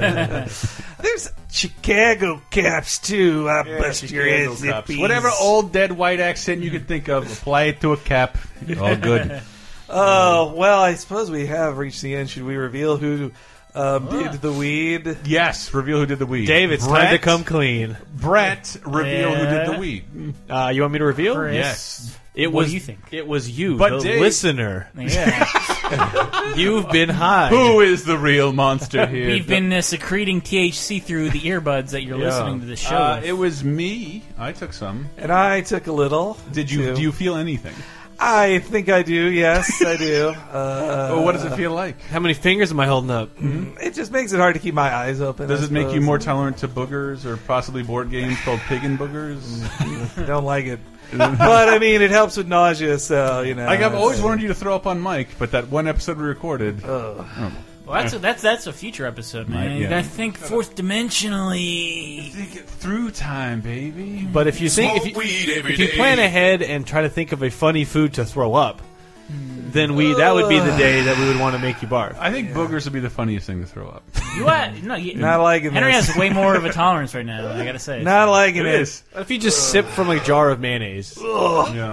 There's Chicago cops too. I bust your Chicago ass. cops. Whatever old dead white accent you could think of, apply it to a cap. All good. Oh well, I suppose we have reached the end. Should we reveal who um, did the weed? Yes, reveal who did the weed. Dave, it's time to come clean. Brett, reveal who did the weed. Uh, you want me to reveal? Chris, Oh, Yes. It what was do you think? It was you, But the Dave- listener. Yeah. You've been high. Who is the real monster here? We've been uh, secreting THC through the earbuds that you're Yeah. listening to the show. Uh, with. it was me. I took some. And I took a little. Did you? too. Do you feel anything? I think I do. Yes, I do. Uh, Oh, what does it feel like? How many fingers am I holding up? It just makes it hard to keep my eyes open. Does I it make you suppose. more tolerant to boogers or possibly board games called Pig and Boogers? Don't like it. but I mean, it helps with nausea, so you know. Like I've always it's- wanted you to throw up on Mike, but that one episode we recorded. Oh. Well, that's a, that's that's a future episode, man. Right, yeah. I think fourth dimensionally. Think it through time, baby. But if you think if Smoke weed eh, you, every if you day. plan ahead and try to think of a funny food to throw up, then we that would be the day that we would want to make you barf. I think boogers would be the funniest thing to throw up. You are, no, you, Not liking Henry this. has way more of a tolerance right now. I gotta say, It is. What If you just sip from a jar of mayonnaise. Ugh.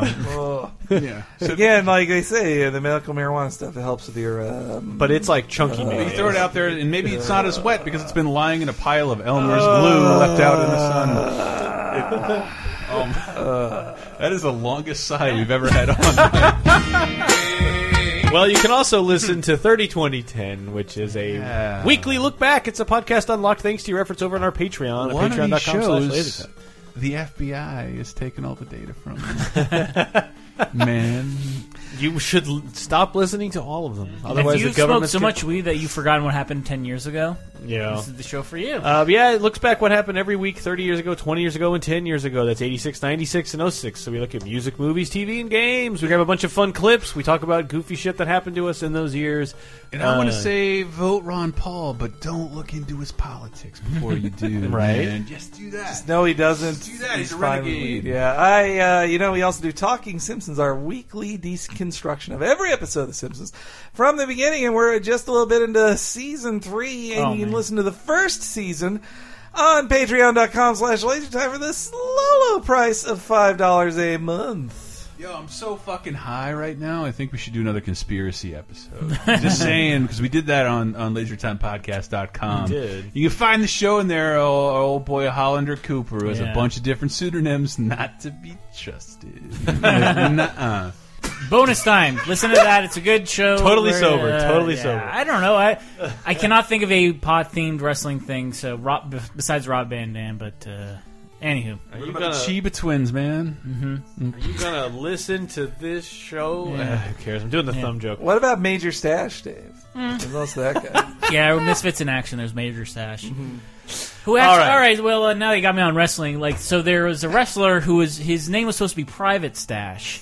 Yeah. Yeah. Again, like they say, uh, the medical marijuana stuff it helps with your. Um, But it's like chunky You throw it out there, and maybe it's not as wet because it's been lying in a pile of Elmer's glue left out in the sun. It- oh, my- that is the longest sigh we've ever had on. Well, you can also listen to 30 20 10, which is a Yeah. weekly look back. It's a podcast unlocked thanks to your efforts over on our Patreon, One at patreon.com of these slash shows, lasertime. the FBI is taking all the data from us. Man. You should l- stop listening to all of them. If Otherwise, you the government smoked so much weed that you've forgotten what happened ten years ago, Yeah. This is the show for you. Uh, but yeah, it looks back what happened every week 30 years ago, 20 years ago, and 10 years ago. That's 86, 96, and 06. So we look at music, movies, TV, and games. We grab a bunch of fun clips. We talk about goofy shit that happened to us in those years. And I want Uh, to say vote Ron Paul, but don't look into his politics before you do. Right. man. Just do that. No, he doesn't. do that. He's a fine with weed. renegade. Yeah, I. Uh, you know, we also do Talking Simpsons, our weekly deconstruction of every episode of The Simpsons from the beginning, and we're just a little bit into season three, and Oh, you can man. listen to the first season on Patreon.com/slash LaserTime for the low, low price of five dollars a month. Yo, I'm so fucking high right now. I think we should do another conspiracy episode. Just saying, because we did that on, on LaserTimePodcast.com. We did. You can find the show in there, old, old boy Hollander Cooper, who has Yeah. a bunch of different pseudonyms not to be trusted. Nuh-uh. Bonus time. Listen to that. It's a good show. uh, Totally sober. Totally yeah, sober. I don't know. I I cannot think of a pot themed wrestling thing. So Rob, b- besides Rob Van Dam, but uh, anywho, Are What you about gonna- the Chiba twins, man? Mm-hmm. Are you going to listen to this show? Yeah. Uh, who cares? I'm doing the Yeah. thumb joke. What about Major Stash, Dave? What's also that guy? yeah, Misfits in Action. There's Major Stash. Who actually, All all, right. right. Well, uh, now you got me on wrestling. Like, so there was a wrestler who was his name was supposed to be Private Stash,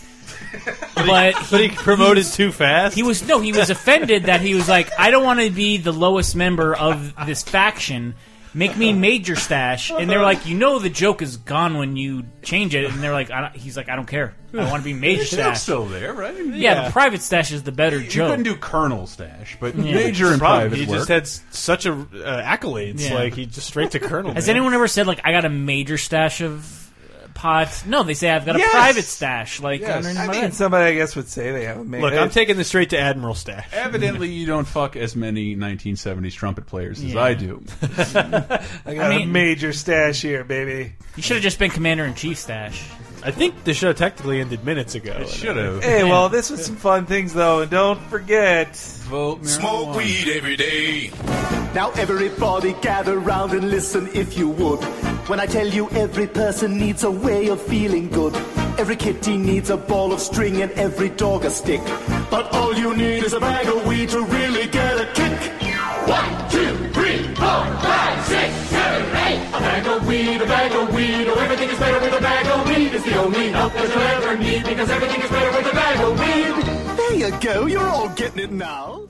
but he, but he promoted too fast. He was no, he was offended that he was like, I don't want to be the lowest member of this faction. Make me Major Stash, and they're like, you know, the joke is gone when you change it, and they're like, I don't, he's like, I don't care. I want to be Major His joke's Stash. still there, right? Yeah, but Private Stash is the better You joke. couldn't do Colonel Stash, but Yeah. Major and Probably. Private He work. just had s- such a uh, accolades. Yeah. Like, he just straight to Colonel. Has man. anyone ever said like I got a major stash of uh, pots? No, they say I've got Yes. a private stash. Like underneath I my mean, bed. somebody I guess would say they have a Major. Look, I'm taking this straight to Admiral Stash. Evidently, you don't fuck as many 1970s trumpet players as Yeah. I do. I got a mean- major stash here, baby. you should have just been commander in chief stash. I think the show technically ended minutes ago. It should have. Hey, well, this was some fun things, though, and don't forget. Vote Smoke weed every day. Now everybody gather round and listen if you would. When I tell you every person needs a way of feeling good. Every kitty needs a ball of string and every dog a stick. But all you need is a bag of weed to really get a kick. One, two, three, four, five, six, seven, eight. A bag of weed, a bag of weed. Oh, everything is better with a bag of weed. It's the only help that you'll ever need because everything is better with a bag of weed. There you go. You're all getting it now.